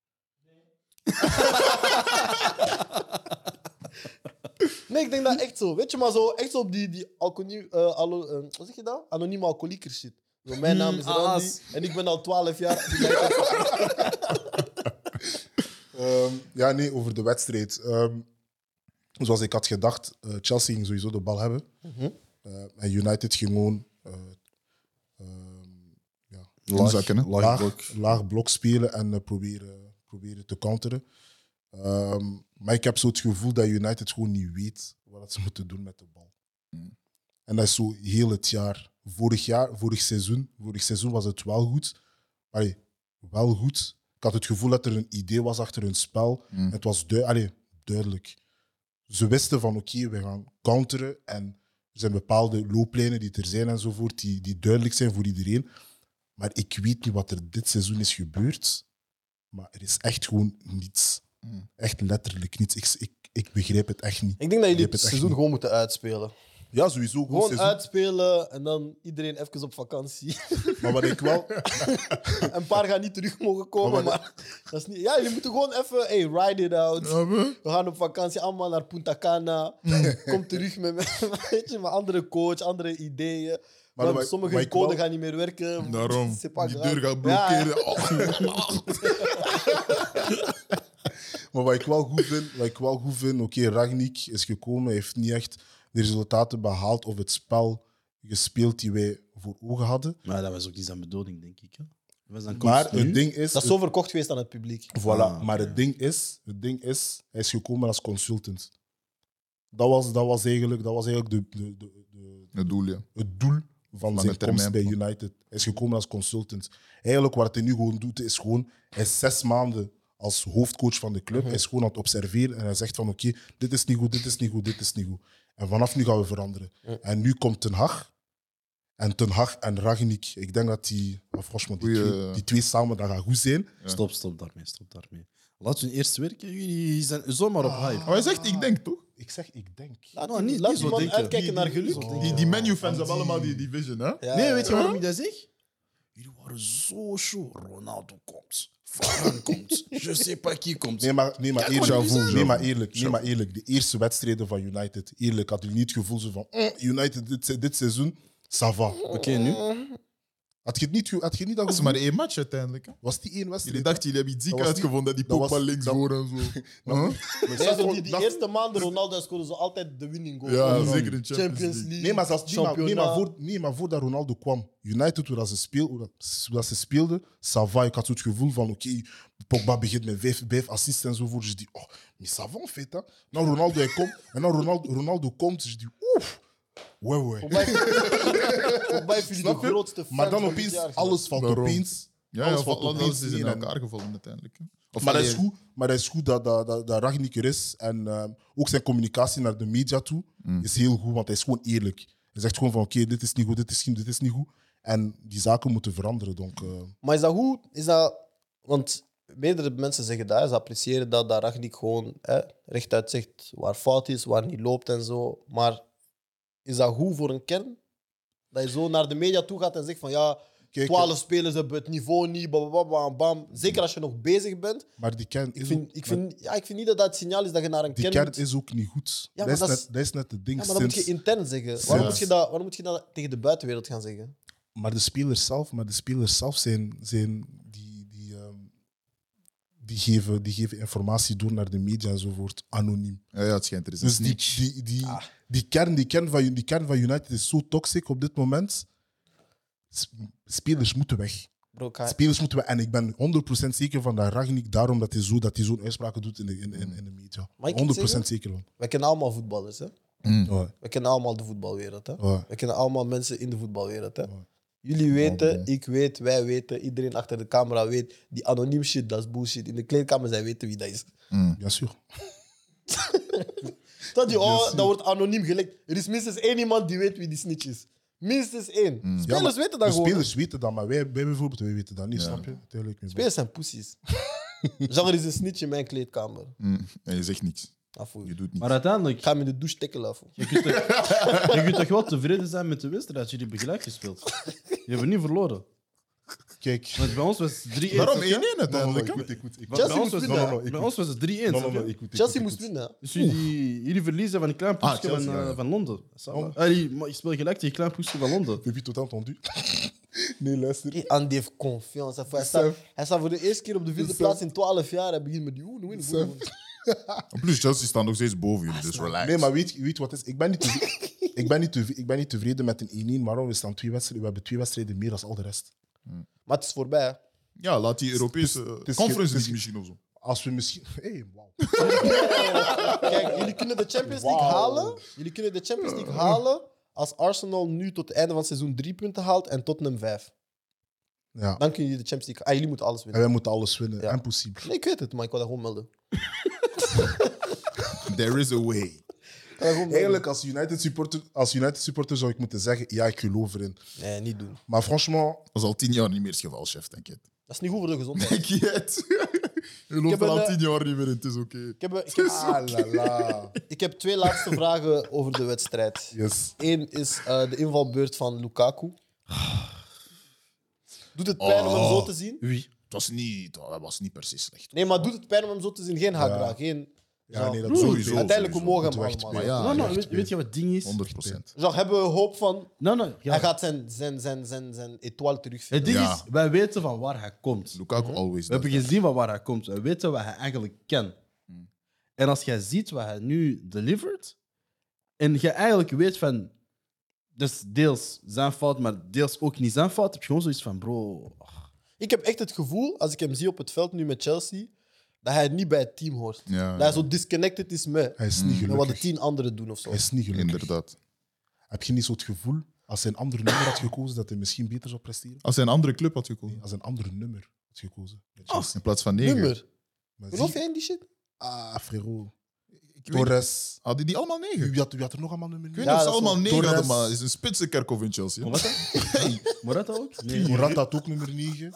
[SPEAKER 1] Nee, ik denk dat echt zo. Weet je, maar zo echt zo op die, die alconie- eh, alo- eh, wat zeg je dat? anonieme alcoholieker shit. Zo, mijn naam is
[SPEAKER 4] Hmm,
[SPEAKER 1] Randy
[SPEAKER 4] AA's.
[SPEAKER 1] en ik ben al 12 jaar. United.
[SPEAKER 3] Ehm, ja, nee, over de wedstrijd. Ehm, zoals ik had gedacht, eh, Chelsea ging sowieso de bal hebben.
[SPEAKER 1] Mhm.
[SPEAKER 3] Eh, en United ging gewoon eh, ehm, ja,
[SPEAKER 2] Inzakken, hè?
[SPEAKER 3] laag, laag, laag blok spelen en eh, proberen, proberen te counteren. Ehm, maar ik heb zo het gevoel dat United gewoon niet weet wat ze moeten doen met de bal.
[SPEAKER 2] Mm.
[SPEAKER 3] En dat is zo heel het jaar. Vorig jaar, vorig seizoen, vorig seizoen was het wel goed. Allee, wel goed. Ik had het gevoel dat er een idee was achter hun spel.
[SPEAKER 2] Mm.
[SPEAKER 3] Het was dui- allee, duidelijk. Ze wisten van oké, we gaan counteren en er zijn bepaalde looplijnen die er zijn enzovoort, die, die duidelijk zijn voor iedereen. Maar ik weet niet wat er dit seizoen is gebeurd, maar er is echt gewoon niets.
[SPEAKER 2] Mm.
[SPEAKER 3] Echt letterlijk niets. Ik, ik, ik begrijp het echt niet.
[SPEAKER 1] Ik denk dat
[SPEAKER 3] Je
[SPEAKER 1] jullie
[SPEAKER 3] hebt
[SPEAKER 1] het
[SPEAKER 3] het echt
[SPEAKER 1] seizoen
[SPEAKER 3] niet.
[SPEAKER 1] gewoon moeten uitspelen.
[SPEAKER 3] Ja, sowieso. Gewoon
[SPEAKER 1] Gewoon
[SPEAKER 3] seizoen.
[SPEAKER 1] uitspelen en dan iedereen even op vakantie.
[SPEAKER 3] Maar wat ik wel...
[SPEAKER 1] Een paar gaan niet terug mogen komen,
[SPEAKER 3] Maar
[SPEAKER 1] maar dat is niet... Ja, jullie moeten gewoon even... Hey, ride it out.
[SPEAKER 2] Ja, we-
[SPEAKER 1] We gaan op vakantie allemaal naar Punta Cana. Kom terug met, met, weet je, met andere coach, andere ideeën.
[SPEAKER 3] Maar
[SPEAKER 1] Maar
[SPEAKER 3] wat- wat
[SPEAKER 1] sommige
[SPEAKER 3] ik wel-
[SPEAKER 1] coden gaan niet meer werken.
[SPEAKER 2] Daarom.
[SPEAKER 1] C'est pas
[SPEAKER 2] Die
[SPEAKER 1] grave.
[SPEAKER 2] deur gaat
[SPEAKER 1] Ja, ja.
[SPEAKER 2] blokkeren. Oh.
[SPEAKER 3] Maar wat ik wel goed vind, wat ik wel goed vind oké, Ragnik is gekomen, heeft niet echt de resultaten behaald of het spel gespeeld die wij voor ogen hadden.
[SPEAKER 4] Maar dat was ook niet zijn bedoeling, denk ik. Hè. Dat Was dan
[SPEAKER 3] Maar
[SPEAKER 4] continu.
[SPEAKER 3] het ding is,
[SPEAKER 1] Dat is zo verkocht geweest aan het publiek.
[SPEAKER 3] het- voilà,
[SPEAKER 4] Ah,
[SPEAKER 3] maar het ding is, het ding is, hij is gekomen als consultant. Dat was, dat was eigenlijk, dat was eigenlijk de, de, de, de-
[SPEAKER 2] Het doel, ja.
[SPEAKER 3] het doel van
[SPEAKER 2] Lange
[SPEAKER 3] zijn komst
[SPEAKER 2] termijn
[SPEAKER 3] bij
[SPEAKER 2] plan.
[SPEAKER 3] United. Hij is gekomen als consultant. Eigenlijk wat hij nu gewoon doet, is gewoon... Hij is zes maanden als hoofdcoach van de club.
[SPEAKER 2] Mhm.
[SPEAKER 3] Hij is gewoon aan het observeren en hij zegt van oké, dit is niet goed, dit is niet goed, dit is niet goed. En vanaf nu gaan we veranderen. En nu komt Ten Hag. En Ten Hag en Ragnik. Ik denk dat die... Maar franchement, die,
[SPEAKER 2] Goeie-
[SPEAKER 3] twee, die twee samen, dat gaat goed zijn.
[SPEAKER 4] Stop, stop daarmee, stop daarmee. Laat hun eerst werken. Jullie zijn zomaar op hype.
[SPEAKER 2] Maar Oh, hij zegt, ik denk toch?
[SPEAKER 3] Ik zeg, ik denk.
[SPEAKER 1] Laat,
[SPEAKER 4] Nou, niet-
[SPEAKER 1] laat
[SPEAKER 4] niet zo
[SPEAKER 1] iemand
[SPEAKER 4] denken.
[SPEAKER 1] uitkijken naar geluk.
[SPEAKER 3] zo
[SPEAKER 2] Die, die menu-fans hebben allemaal die division, hè?
[SPEAKER 1] Ja,
[SPEAKER 4] nee,
[SPEAKER 1] ja.
[SPEAKER 4] weet je waarom ik dat zeg? Jullie waren zo show. Ronaldo komt. Varane komt. Je sais pas qui komt.
[SPEAKER 3] Nee, maar, nee, maar
[SPEAKER 4] Kijk
[SPEAKER 3] eerlijk.
[SPEAKER 4] wat jullie
[SPEAKER 3] Nee,
[SPEAKER 2] zijn.
[SPEAKER 3] maar eerlijk. Nee, maar eerlijk. De eerste wedstrijden van United. Eerlijk, had u niet het gevoel zo van... "Mm, United dit, se- dit seizoen, ça va.
[SPEAKER 4] Oké, nu?
[SPEAKER 3] Had je het niet, ge- had je niet dat
[SPEAKER 2] Dat is
[SPEAKER 3] gevoel?
[SPEAKER 2] maar één match uiteindelijk. Hè?
[SPEAKER 3] Was die één wedstrijd?
[SPEAKER 2] Jullie dachten, jullie hebben iets ziek
[SPEAKER 3] Dat was die-
[SPEAKER 2] uitgevonden, dat die
[SPEAKER 3] dat was-
[SPEAKER 2] Pogba links
[SPEAKER 3] dat-
[SPEAKER 2] voor en zo. Huh?
[SPEAKER 3] Maar
[SPEAKER 1] Nee,
[SPEAKER 3] zelfs
[SPEAKER 1] zo
[SPEAKER 3] voor-
[SPEAKER 1] die, die
[SPEAKER 3] dat-
[SPEAKER 1] eerste maanden Ronaldo scoorde ze altijd de winning goal.
[SPEAKER 2] Ja,
[SPEAKER 1] Overal.
[SPEAKER 2] zeker in Champions League.
[SPEAKER 1] League.
[SPEAKER 3] Nee, maar, zelfs, nee, maar, nee, maar
[SPEAKER 1] Championnat.
[SPEAKER 3] voor, nee, maar voordat Ronaldo kwam, United, hoe dat ze, speel, hoe dat, hoe dat ze speelden, ça va. Ik had zo het gevoel van, oké, Pogba begint met vijf, vijf assists enzovoort. Dus ik die, oh, mais ça va en fait. Hè. Nou, Ronaldo, hij komt. En nou, Ronaldo, Ronaldo komt. Dus ik die, oef. Ouais, ouais.
[SPEAKER 1] Voorbij Voorbij jullie de
[SPEAKER 3] Snap je?
[SPEAKER 1] grootste fan
[SPEAKER 3] Maar dan
[SPEAKER 1] van dit jaar.
[SPEAKER 3] opeens, alles valt
[SPEAKER 2] Daarom.
[SPEAKER 3] opeens.
[SPEAKER 2] Ja,
[SPEAKER 3] Alles
[SPEAKER 2] ja,
[SPEAKER 3] valt
[SPEAKER 2] Van
[SPEAKER 3] opeens
[SPEAKER 2] alles is in
[SPEAKER 3] neer en-
[SPEAKER 2] elkaar gevallen uiteindelijk. hè. Of
[SPEAKER 3] Maar dat is
[SPEAKER 2] alleen-
[SPEAKER 3] goed, maar dat, is goed dat, dat, dat, dat Ragnik er is. En ehm, ook zijn communicatie naar de media toe
[SPEAKER 2] Mm.
[SPEAKER 3] is heel goed, want hij is gewoon eerlijk. Hij zegt gewoon van oké, dit is niet goed, dit is, niet- dit is niet goed. En die zaken moeten veranderen. Donc, eh,
[SPEAKER 1] Maar is dat goed? Is dat, want meerdere mensen zeggen dat, hè, ze appreciëren dat, dat Ragnik gewoon hè, rechtuit zegt waar fout is, waar niet loopt en zo. Maar is dat goed voor een kern? Dat je zo naar de media toe gaat en zegt van ja,
[SPEAKER 3] Kijk,
[SPEAKER 1] 12 spelers hebben het niveau niet, bam, bam, bam, bam. Zeker als je nog bezig bent.
[SPEAKER 3] Maar die kern
[SPEAKER 1] Ik
[SPEAKER 3] is
[SPEAKER 1] vind,
[SPEAKER 3] ook-
[SPEAKER 1] ik vind, ja, ik vind niet dat dat het signaal is dat je naar een
[SPEAKER 3] die
[SPEAKER 1] kern
[SPEAKER 3] kern
[SPEAKER 1] moet.
[SPEAKER 3] is ook niet goed.
[SPEAKER 1] maar
[SPEAKER 3] dat, is
[SPEAKER 1] dat is-
[SPEAKER 3] net, dat is net het ding.
[SPEAKER 1] Ja, maar dat moet je
[SPEAKER 3] sinds-
[SPEAKER 1] intern zeggen. Waarom
[SPEAKER 3] Ja.
[SPEAKER 1] moet je dat, waarom moet je dat tegen de buitenwereld gaan zeggen?
[SPEAKER 3] maar de spelers zelf, maar de spelers zelf zijn, zijn die, die, ehm, die, geven, die geven informatie door naar de media enzovoort, anoniem.
[SPEAKER 2] Ja, ja, het schijnt er is een
[SPEAKER 3] Dus die,
[SPEAKER 2] snitch.
[SPEAKER 3] die, die, die, kern, die, kern van, die kern van United is zo toxic op dit moment. S- Spelers moeten weg.
[SPEAKER 1] Bro, ik ga-
[SPEAKER 3] Spelers moeten weg. En ik ben 100% zeker van dat Ragnik daarom dat hij zo- dat hij zo'n uitspraken doet in de, in, in, in de media.
[SPEAKER 1] Mag ik iets zeggen?
[SPEAKER 3] 100% zeker van.
[SPEAKER 1] Wij kennen allemaal voetballers, hè?
[SPEAKER 3] Ja,
[SPEAKER 1] We kennen allemaal de voetbalwereld, hè?
[SPEAKER 3] ja.
[SPEAKER 1] We kennen allemaal mensen in de voetbalwereld, hè?
[SPEAKER 3] Ja. Oh,
[SPEAKER 1] Jullie
[SPEAKER 2] Ja.
[SPEAKER 1] weten, ik weet, wij weten, iedereen achter de camera weet. Die anoniem shit, dat is bullshit. In de kleedkamer, zij weten wie dat is.
[SPEAKER 2] Mm.
[SPEAKER 3] Bien sûr.
[SPEAKER 1] Dat, die, oh, dat wordt anoniem gelekt. Er is minstens één iemand die weet wie die snitch is. Minstens één.
[SPEAKER 3] Mm. Ja,
[SPEAKER 1] Spelers
[SPEAKER 3] maar
[SPEAKER 1] weten
[SPEAKER 3] de
[SPEAKER 1] dat gewoon.
[SPEAKER 3] spelers weten dat, maar wij, wij bijvoorbeeld wij weten dat niet,
[SPEAKER 2] Ja.
[SPEAKER 3] snap je? Tuurlijk niet.
[SPEAKER 1] Spelers zijn poesies. Genre is een snitch in mijn kleedkamer.
[SPEAKER 2] Mm. En je zegt niks.
[SPEAKER 1] Afvoer.
[SPEAKER 2] Je doet niks.
[SPEAKER 5] Maar uiteindelijk,
[SPEAKER 1] Ik ga hem in de douche tikkelen af.
[SPEAKER 5] je kunt, toch, je kunt toch wel tevreden zijn met de wedstrijd dat jullie hebben gelijk gespeeld. Je hebben niet verloren.
[SPEAKER 3] Kijk.
[SPEAKER 5] Want bij ons was het 3-1.
[SPEAKER 2] Waarom
[SPEAKER 5] toch,
[SPEAKER 2] 1-1
[SPEAKER 5] hè?
[SPEAKER 2] uiteindelijk?
[SPEAKER 3] ik moet, ik moet, ik
[SPEAKER 5] Want
[SPEAKER 1] Chelsea
[SPEAKER 5] bij ons
[SPEAKER 1] moest
[SPEAKER 5] was,
[SPEAKER 1] winnen.
[SPEAKER 5] bij ons was het 3-1. toch, hè?
[SPEAKER 1] Chelsea moest winnen. hè?
[SPEAKER 5] Dus jullie, jullie verliezen van een klein
[SPEAKER 2] Ah,
[SPEAKER 5] poesje
[SPEAKER 2] Chelsea,
[SPEAKER 5] van,
[SPEAKER 2] ja,
[SPEAKER 5] eh,
[SPEAKER 2] ja.
[SPEAKER 5] van Londen. Ça va.
[SPEAKER 3] Oh.
[SPEAKER 5] Allee, maar je speelt gelijk tegen een klein poesje van Londen.
[SPEAKER 3] Heb je tot entendu? nee, luister.
[SPEAKER 1] Hey, Andy heeft confiance. hè. Hij staat, hij staat voor de eerste keer op de vierde plaats in 12 jaar. Hij begint met die oeh, oeh, oeh, oeh.
[SPEAKER 2] En plus, Chelsea staan nog steeds boven jullie, dus relax.
[SPEAKER 3] Nee, maar weet, weet wat het is? Ik ben, niet tevreden, ik, ben niet tevreden, ik ben niet tevreden met een 1-1, maar we, staan twee wedstrijden, we hebben twee wedstrijden meer dan al de rest.
[SPEAKER 1] Maar het is voorbij. hè.
[SPEAKER 2] Ja, laat die Europese
[SPEAKER 3] is ge-
[SPEAKER 2] conference
[SPEAKER 3] het is
[SPEAKER 2] League
[SPEAKER 3] ge-
[SPEAKER 2] misschien of zo.
[SPEAKER 3] Als we misschien... Hey, wauw.
[SPEAKER 1] Kijk, jullie kunnen de Champions League
[SPEAKER 3] Wauw.
[SPEAKER 1] halen. Jullie kunnen de Champions League halen als Arsenal nu tot het einde van het seizoen drie punten haalt en Tottenham vijf.
[SPEAKER 3] Ja.
[SPEAKER 1] Dan kunnen jullie de Champions League... Ah, jullie moeten alles
[SPEAKER 3] En
[SPEAKER 1] winnen.
[SPEAKER 3] wij moeten alles winnen.
[SPEAKER 1] Ja.
[SPEAKER 3] Impossible.
[SPEAKER 1] Nee, ik weet het, maar ik wil dat gewoon melden.
[SPEAKER 2] There is a way.
[SPEAKER 1] Ik wil dat gewoon melden.
[SPEAKER 3] Eigenlijk, als United, supporter, als United supporter zou ik moeten zeggen, ja, ik geloof erin.
[SPEAKER 1] Nee, niet doen.
[SPEAKER 3] Maar franchement,
[SPEAKER 2] Dat is al tien jaar niet meer het geval, chef, denk je.
[SPEAKER 1] Dat is niet goed voor de gezondheid.
[SPEAKER 2] Denk je het? Je
[SPEAKER 1] heb
[SPEAKER 2] loopt er
[SPEAKER 1] een,
[SPEAKER 2] al
[SPEAKER 1] eh,
[SPEAKER 2] tien jaar niet meer in, het is oké.
[SPEAKER 1] Ik heb, ik, heb,
[SPEAKER 3] ah la la.
[SPEAKER 1] ik heb twee laatste vragen over de wedstrijd.
[SPEAKER 3] Yes.
[SPEAKER 1] Eén is eh, de invalbeurt van Lukaku. Doet het pijn om hem
[SPEAKER 2] Oh.
[SPEAKER 1] zo te zien?
[SPEAKER 5] Wie?
[SPEAKER 2] Het was niet, dat was niet per se slecht.
[SPEAKER 1] Nee, maar doet het pijn om hem zo te zien? Geen Hagra, geen...
[SPEAKER 3] Ja, nee, dat
[SPEAKER 5] Sowieso,
[SPEAKER 3] sowieso.
[SPEAKER 1] Uiteindelijk, we
[SPEAKER 2] sowieso.
[SPEAKER 1] mogen hem
[SPEAKER 3] Het werd
[SPEAKER 1] allemaal.
[SPEAKER 2] Maar
[SPEAKER 1] hè.
[SPEAKER 2] ja,
[SPEAKER 5] nou, nou,
[SPEAKER 2] echt
[SPEAKER 5] weet, weet je wat het ding is?
[SPEAKER 2] 100 procent.
[SPEAKER 1] Genre, hebben we hoop van...
[SPEAKER 5] Nou, nou, ja.
[SPEAKER 1] Hij gaat zijn, zijn, zijn, zijn, zijn etoile terugvinden.
[SPEAKER 5] Het ding
[SPEAKER 2] Ja.
[SPEAKER 5] is, wij weten van waar hij komt.
[SPEAKER 2] Lukaku always
[SPEAKER 5] We hebben
[SPEAKER 2] does
[SPEAKER 5] gezien van waar hij komt. We weten wat hij eigenlijk kan. En als jij ziet wat hij nu delivert, en je eigenlijk weet van, dus deels zijn fout, maar deels ook niet zijn fout, heb je gewoon zoiets van, bro. ach.
[SPEAKER 1] Ik heb echt het gevoel, als ik hem zie op het veld nu met Chelsea, dat hij niet bij het team hoort.
[SPEAKER 2] that. Ja,
[SPEAKER 1] Dat hij zo disconnected is met,
[SPEAKER 3] Hij is niet
[SPEAKER 1] met wat de
[SPEAKER 3] gelukkig.
[SPEAKER 1] tien anderen doen of zo.
[SPEAKER 3] Hij is niet gelukkig.
[SPEAKER 2] inderdaad.
[SPEAKER 3] Heb je niet zo het gevoel, als hij een ander nummer had gekozen, dat hij misschien beter zou presteren?
[SPEAKER 2] Als hij een andere club had
[SPEAKER 3] Nee,
[SPEAKER 2] gekozen.
[SPEAKER 3] als een ander nummer had gekozen.
[SPEAKER 2] In plaats van 9.
[SPEAKER 1] Nummer.
[SPEAKER 3] Maar
[SPEAKER 1] Geloof
[SPEAKER 3] zie-
[SPEAKER 1] jij in die shit?
[SPEAKER 3] Ah, frérot.
[SPEAKER 2] Ik weet,
[SPEAKER 3] Torres.
[SPEAKER 2] hadden die allemaal 9?
[SPEAKER 3] Wie
[SPEAKER 2] Ik
[SPEAKER 3] wie had, wie had er nog allemaal nummer
[SPEAKER 2] weet
[SPEAKER 1] Ja,
[SPEAKER 2] niet of
[SPEAKER 1] dat is
[SPEAKER 2] ze allemaal
[SPEAKER 1] wel-
[SPEAKER 2] 9 hadden,
[SPEAKER 3] Torres.
[SPEAKER 2] maar het is een spitsenkerkhof in Chelsea.
[SPEAKER 5] Morata? Morata ook? Nee.
[SPEAKER 3] Morata had ook nummer 9.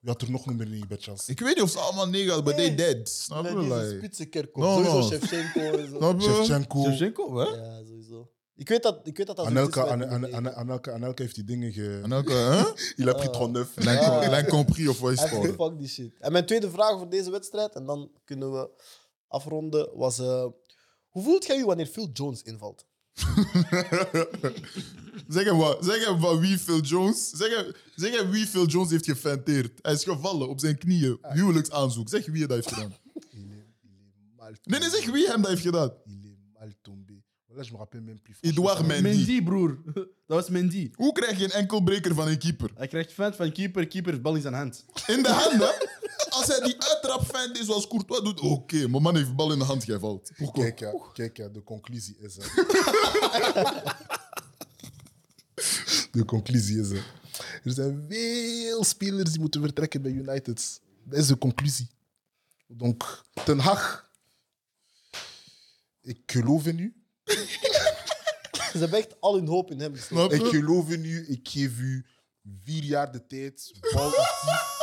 [SPEAKER 3] Wie had er nog nummer 9 bij Chelsea?
[SPEAKER 2] Ik weet niet of ze allemaal 9 hadden, maar
[SPEAKER 1] Nee.
[SPEAKER 2] they dead. Snap je?
[SPEAKER 1] Nee, die is een
[SPEAKER 2] Like,
[SPEAKER 1] spitsenkerk.
[SPEAKER 2] No,
[SPEAKER 1] sowieso
[SPEAKER 2] no.
[SPEAKER 1] Shevchenko en zo.
[SPEAKER 2] snap je?
[SPEAKER 3] Shevchenko.
[SPEAKER 5] Shevchenko, hè?
[SPEAKER 1] Ja, sowieso. Ik weet dat ik weet dat, dat zo is
[SPEAKER 3] Anelka,
[SPEAKER 1] met
[SPEAKER 3] An-
[SPEAKER 1] nummer
[SPEAKER 3] An-
[SPEAKER 1] negen.
[SPEAKER 3] An- Anelka, Anelka heeft die dingen ge...
[SPEAKER 2] En ook, hè?
[SPEAKER 3] Il a pris
[SPEAKER 1] Ah.
[SPEAKER 3] 39.
[SPEAKER 1] Ja.
[SPEAKER 2] L'incompris of wat is
[SPEAKER 1] Hij
[SPEAKER 2] het?
[SPEAKER 1] heeft fuck
[SPEAKER 2] geworden?
[SPEAKER 1] die shit. En mijn tweede vraag voor deze wedstrijd, en dan kunnen we afronden, was... eh, hoe voelt jij je wanneer Phil Jones invalt?
[SPEAKER 2] Zeg hem, wat, zeg hem van wie Phil Jones. Zeg hem, zeg hem wie Phil Jones heeft gefanteerd. Hij is gevallen op zijn knieën.
[SPEAKER 1] Ah.
[SPEAKER 2] Huwelijksaanzoek. Zeg wie dat heeft gedaan.
[SPEAKER 3] Il est- il est mal
[SPEAKER 2] Nee, nee, zeg wie hem dat heeft gedaan.
[SPEAKER 3] Il est mal tombé. Là, je me rappelle même plus.
[SPEAKER 2] Edouard
[SPEAKER 3] Franchement,
[SPEAKER 2] Mendy.
[SPEAKER 5] Mendy, broer. Dat was Mendy.
[SPEAKER 2] Hoe krijg je een enkelbreker van een keeper?
[SPEAKER 5] Hij krijgt fan van keeper, keeper, bal in zijn hand.
[SPEAKER 2] In de hand, hè? Als hij die uittrap fijn is zoals Courtois doet, oké, mijn man heeft bal in de hand, jij valt. Pourquoi?
[SPEAKER 3] Kijk, hè, kijk hè, de conclusie is... hè. de conclusie is... hè. Er zijn veel spelers die moeten vertrekken bij United. Dat is de conclusie. Donc, Ten Hag. Ik geloof in u.
[SPEAKER 1] Ze hebben echt al hun hoop in hem gestoken.
[SPEAKER 2] Snap je?
[SPEAKER 3] Ik geloof in u. Ik geef u vier jaar de tijd. Bal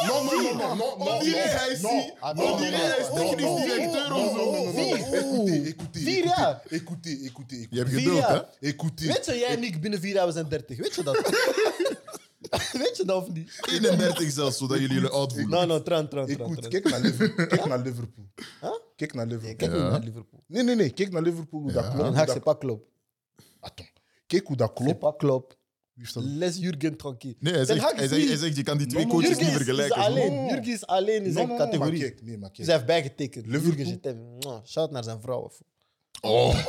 [SPEAKER 2] Non, non, non, non, non, ah,
[SPEAKER 3] non,
[SPEAKER 2] On dirait hij is
[SPEAKER 3] non,
[SPEAKER 2] hier.
[SPEAKER 3] attends,
[SPEAKER 2] On dirait hij is
[SPEAKER 1] non, non,
[SPEAKER 2] technisch
[SPEAKER 1] non,
[SPEAKER 2] directeur of zo.
[SPEAKER 3] Écoutez, écoutez,
[SPEAKER 1] Vier
[SPEAKER 3] écoutez,
[SPEAKER 1] jaar.
[SPEAKER 3] écoutez, écoutez,
[SPEAKER 2] Je hebt
[SPEAKER 1] Vier
[SPEAKER 2] geduld, hè?
[SPEAKER 1] jaar.
[SPEAKER 3] écoutez.
[SPEAKER 1] Weet je, jij en ik binnen vier jaar, we zijn dertig. Weet je dat? Weet je dat of niet?
[SPEAKER 2] 31 zelfs, zodat jullie jullie oud voelen.
[SPEAKER 1] Nou, nou, tran, tran,
[SPEAKER 3] Ik
[SPEAKER 1] tran.
[SPEAKER 3] moet,
[SPEAKER 1] tran.
[SPEAKER 3] kijk naar Liverpool. Kijk naar Liverpool.
[SPEAKER 1] Huh?
[SPEAKER 3] Kijk naar Liverpool.
[SPEAKER 1] Nee, Kijk
[SPEAKER 2] Ja.
[SPEAKER 1] niet naar Liverpool.
[SPEAKER 3] Nee, nee, nee. Kijk naar Liverpool hoe dat
[SPEAKER 2] Ja.
[SPEAKER 3] klopt.
[SPEAKER 1] Een
[SPEAKER 3] hoe
[SPEAKER 1] Haagse
[SPEAKER 3] dat-
[SPEAKER 1] pak klopt.
[SPEAKER 3] Attends. Kijk hoe dat
[SPEAKER 1] Klopt,
[SPEAKER 3] klopt.
[SPEAKER 1] pak klopt.
[SPEAKER 3] Wie heeft dat-
[SPEAKER 1] Les Jurgen tranquille.
[SPEAKER 2] Nee, hij
[SPEAKER 1] Den
[SPEAKER 2] zegt,
[SPEAKER 1] Haag
[SPEAKER 2] hij,
[SPEAKER 1] is
[SPEAKER 2] zegt,
[SPEAKER 1] niet-
[SPEAKER 2] hij zegt, je kan die twee
[SPEAKER 1] No,
[SPEAKER 2] coaches
[SPEAKER 1] Jurgen
[SPEAKER 2] niet
[SPEAKER 1] is-
[SPEAKER 2] vergelijken.
[SPEAKER 1] Is
[SPEAKER 2] zo.
[SPEAKER 1] alleen.
[SPEAKER 3] No.
[SPEAKER 1] Jurgen is alleen in
[SPEAKER 3] Nee,
[SPEAKER 1] zijn
[SPEAKER 3] nee, nee,
[SPEAKER 1] categorie.
[SPEAKER 3] maar kijk, nee, maar kijk.
[SPEAKER 1] Ze heeft bijgetekend.
[SPEAKER 3] Liverpool?
[SPEAKER 1] Jurgen zit hem. Mwah, Shout naar zijn vrouwen.
[SPEAKER 2] Oh.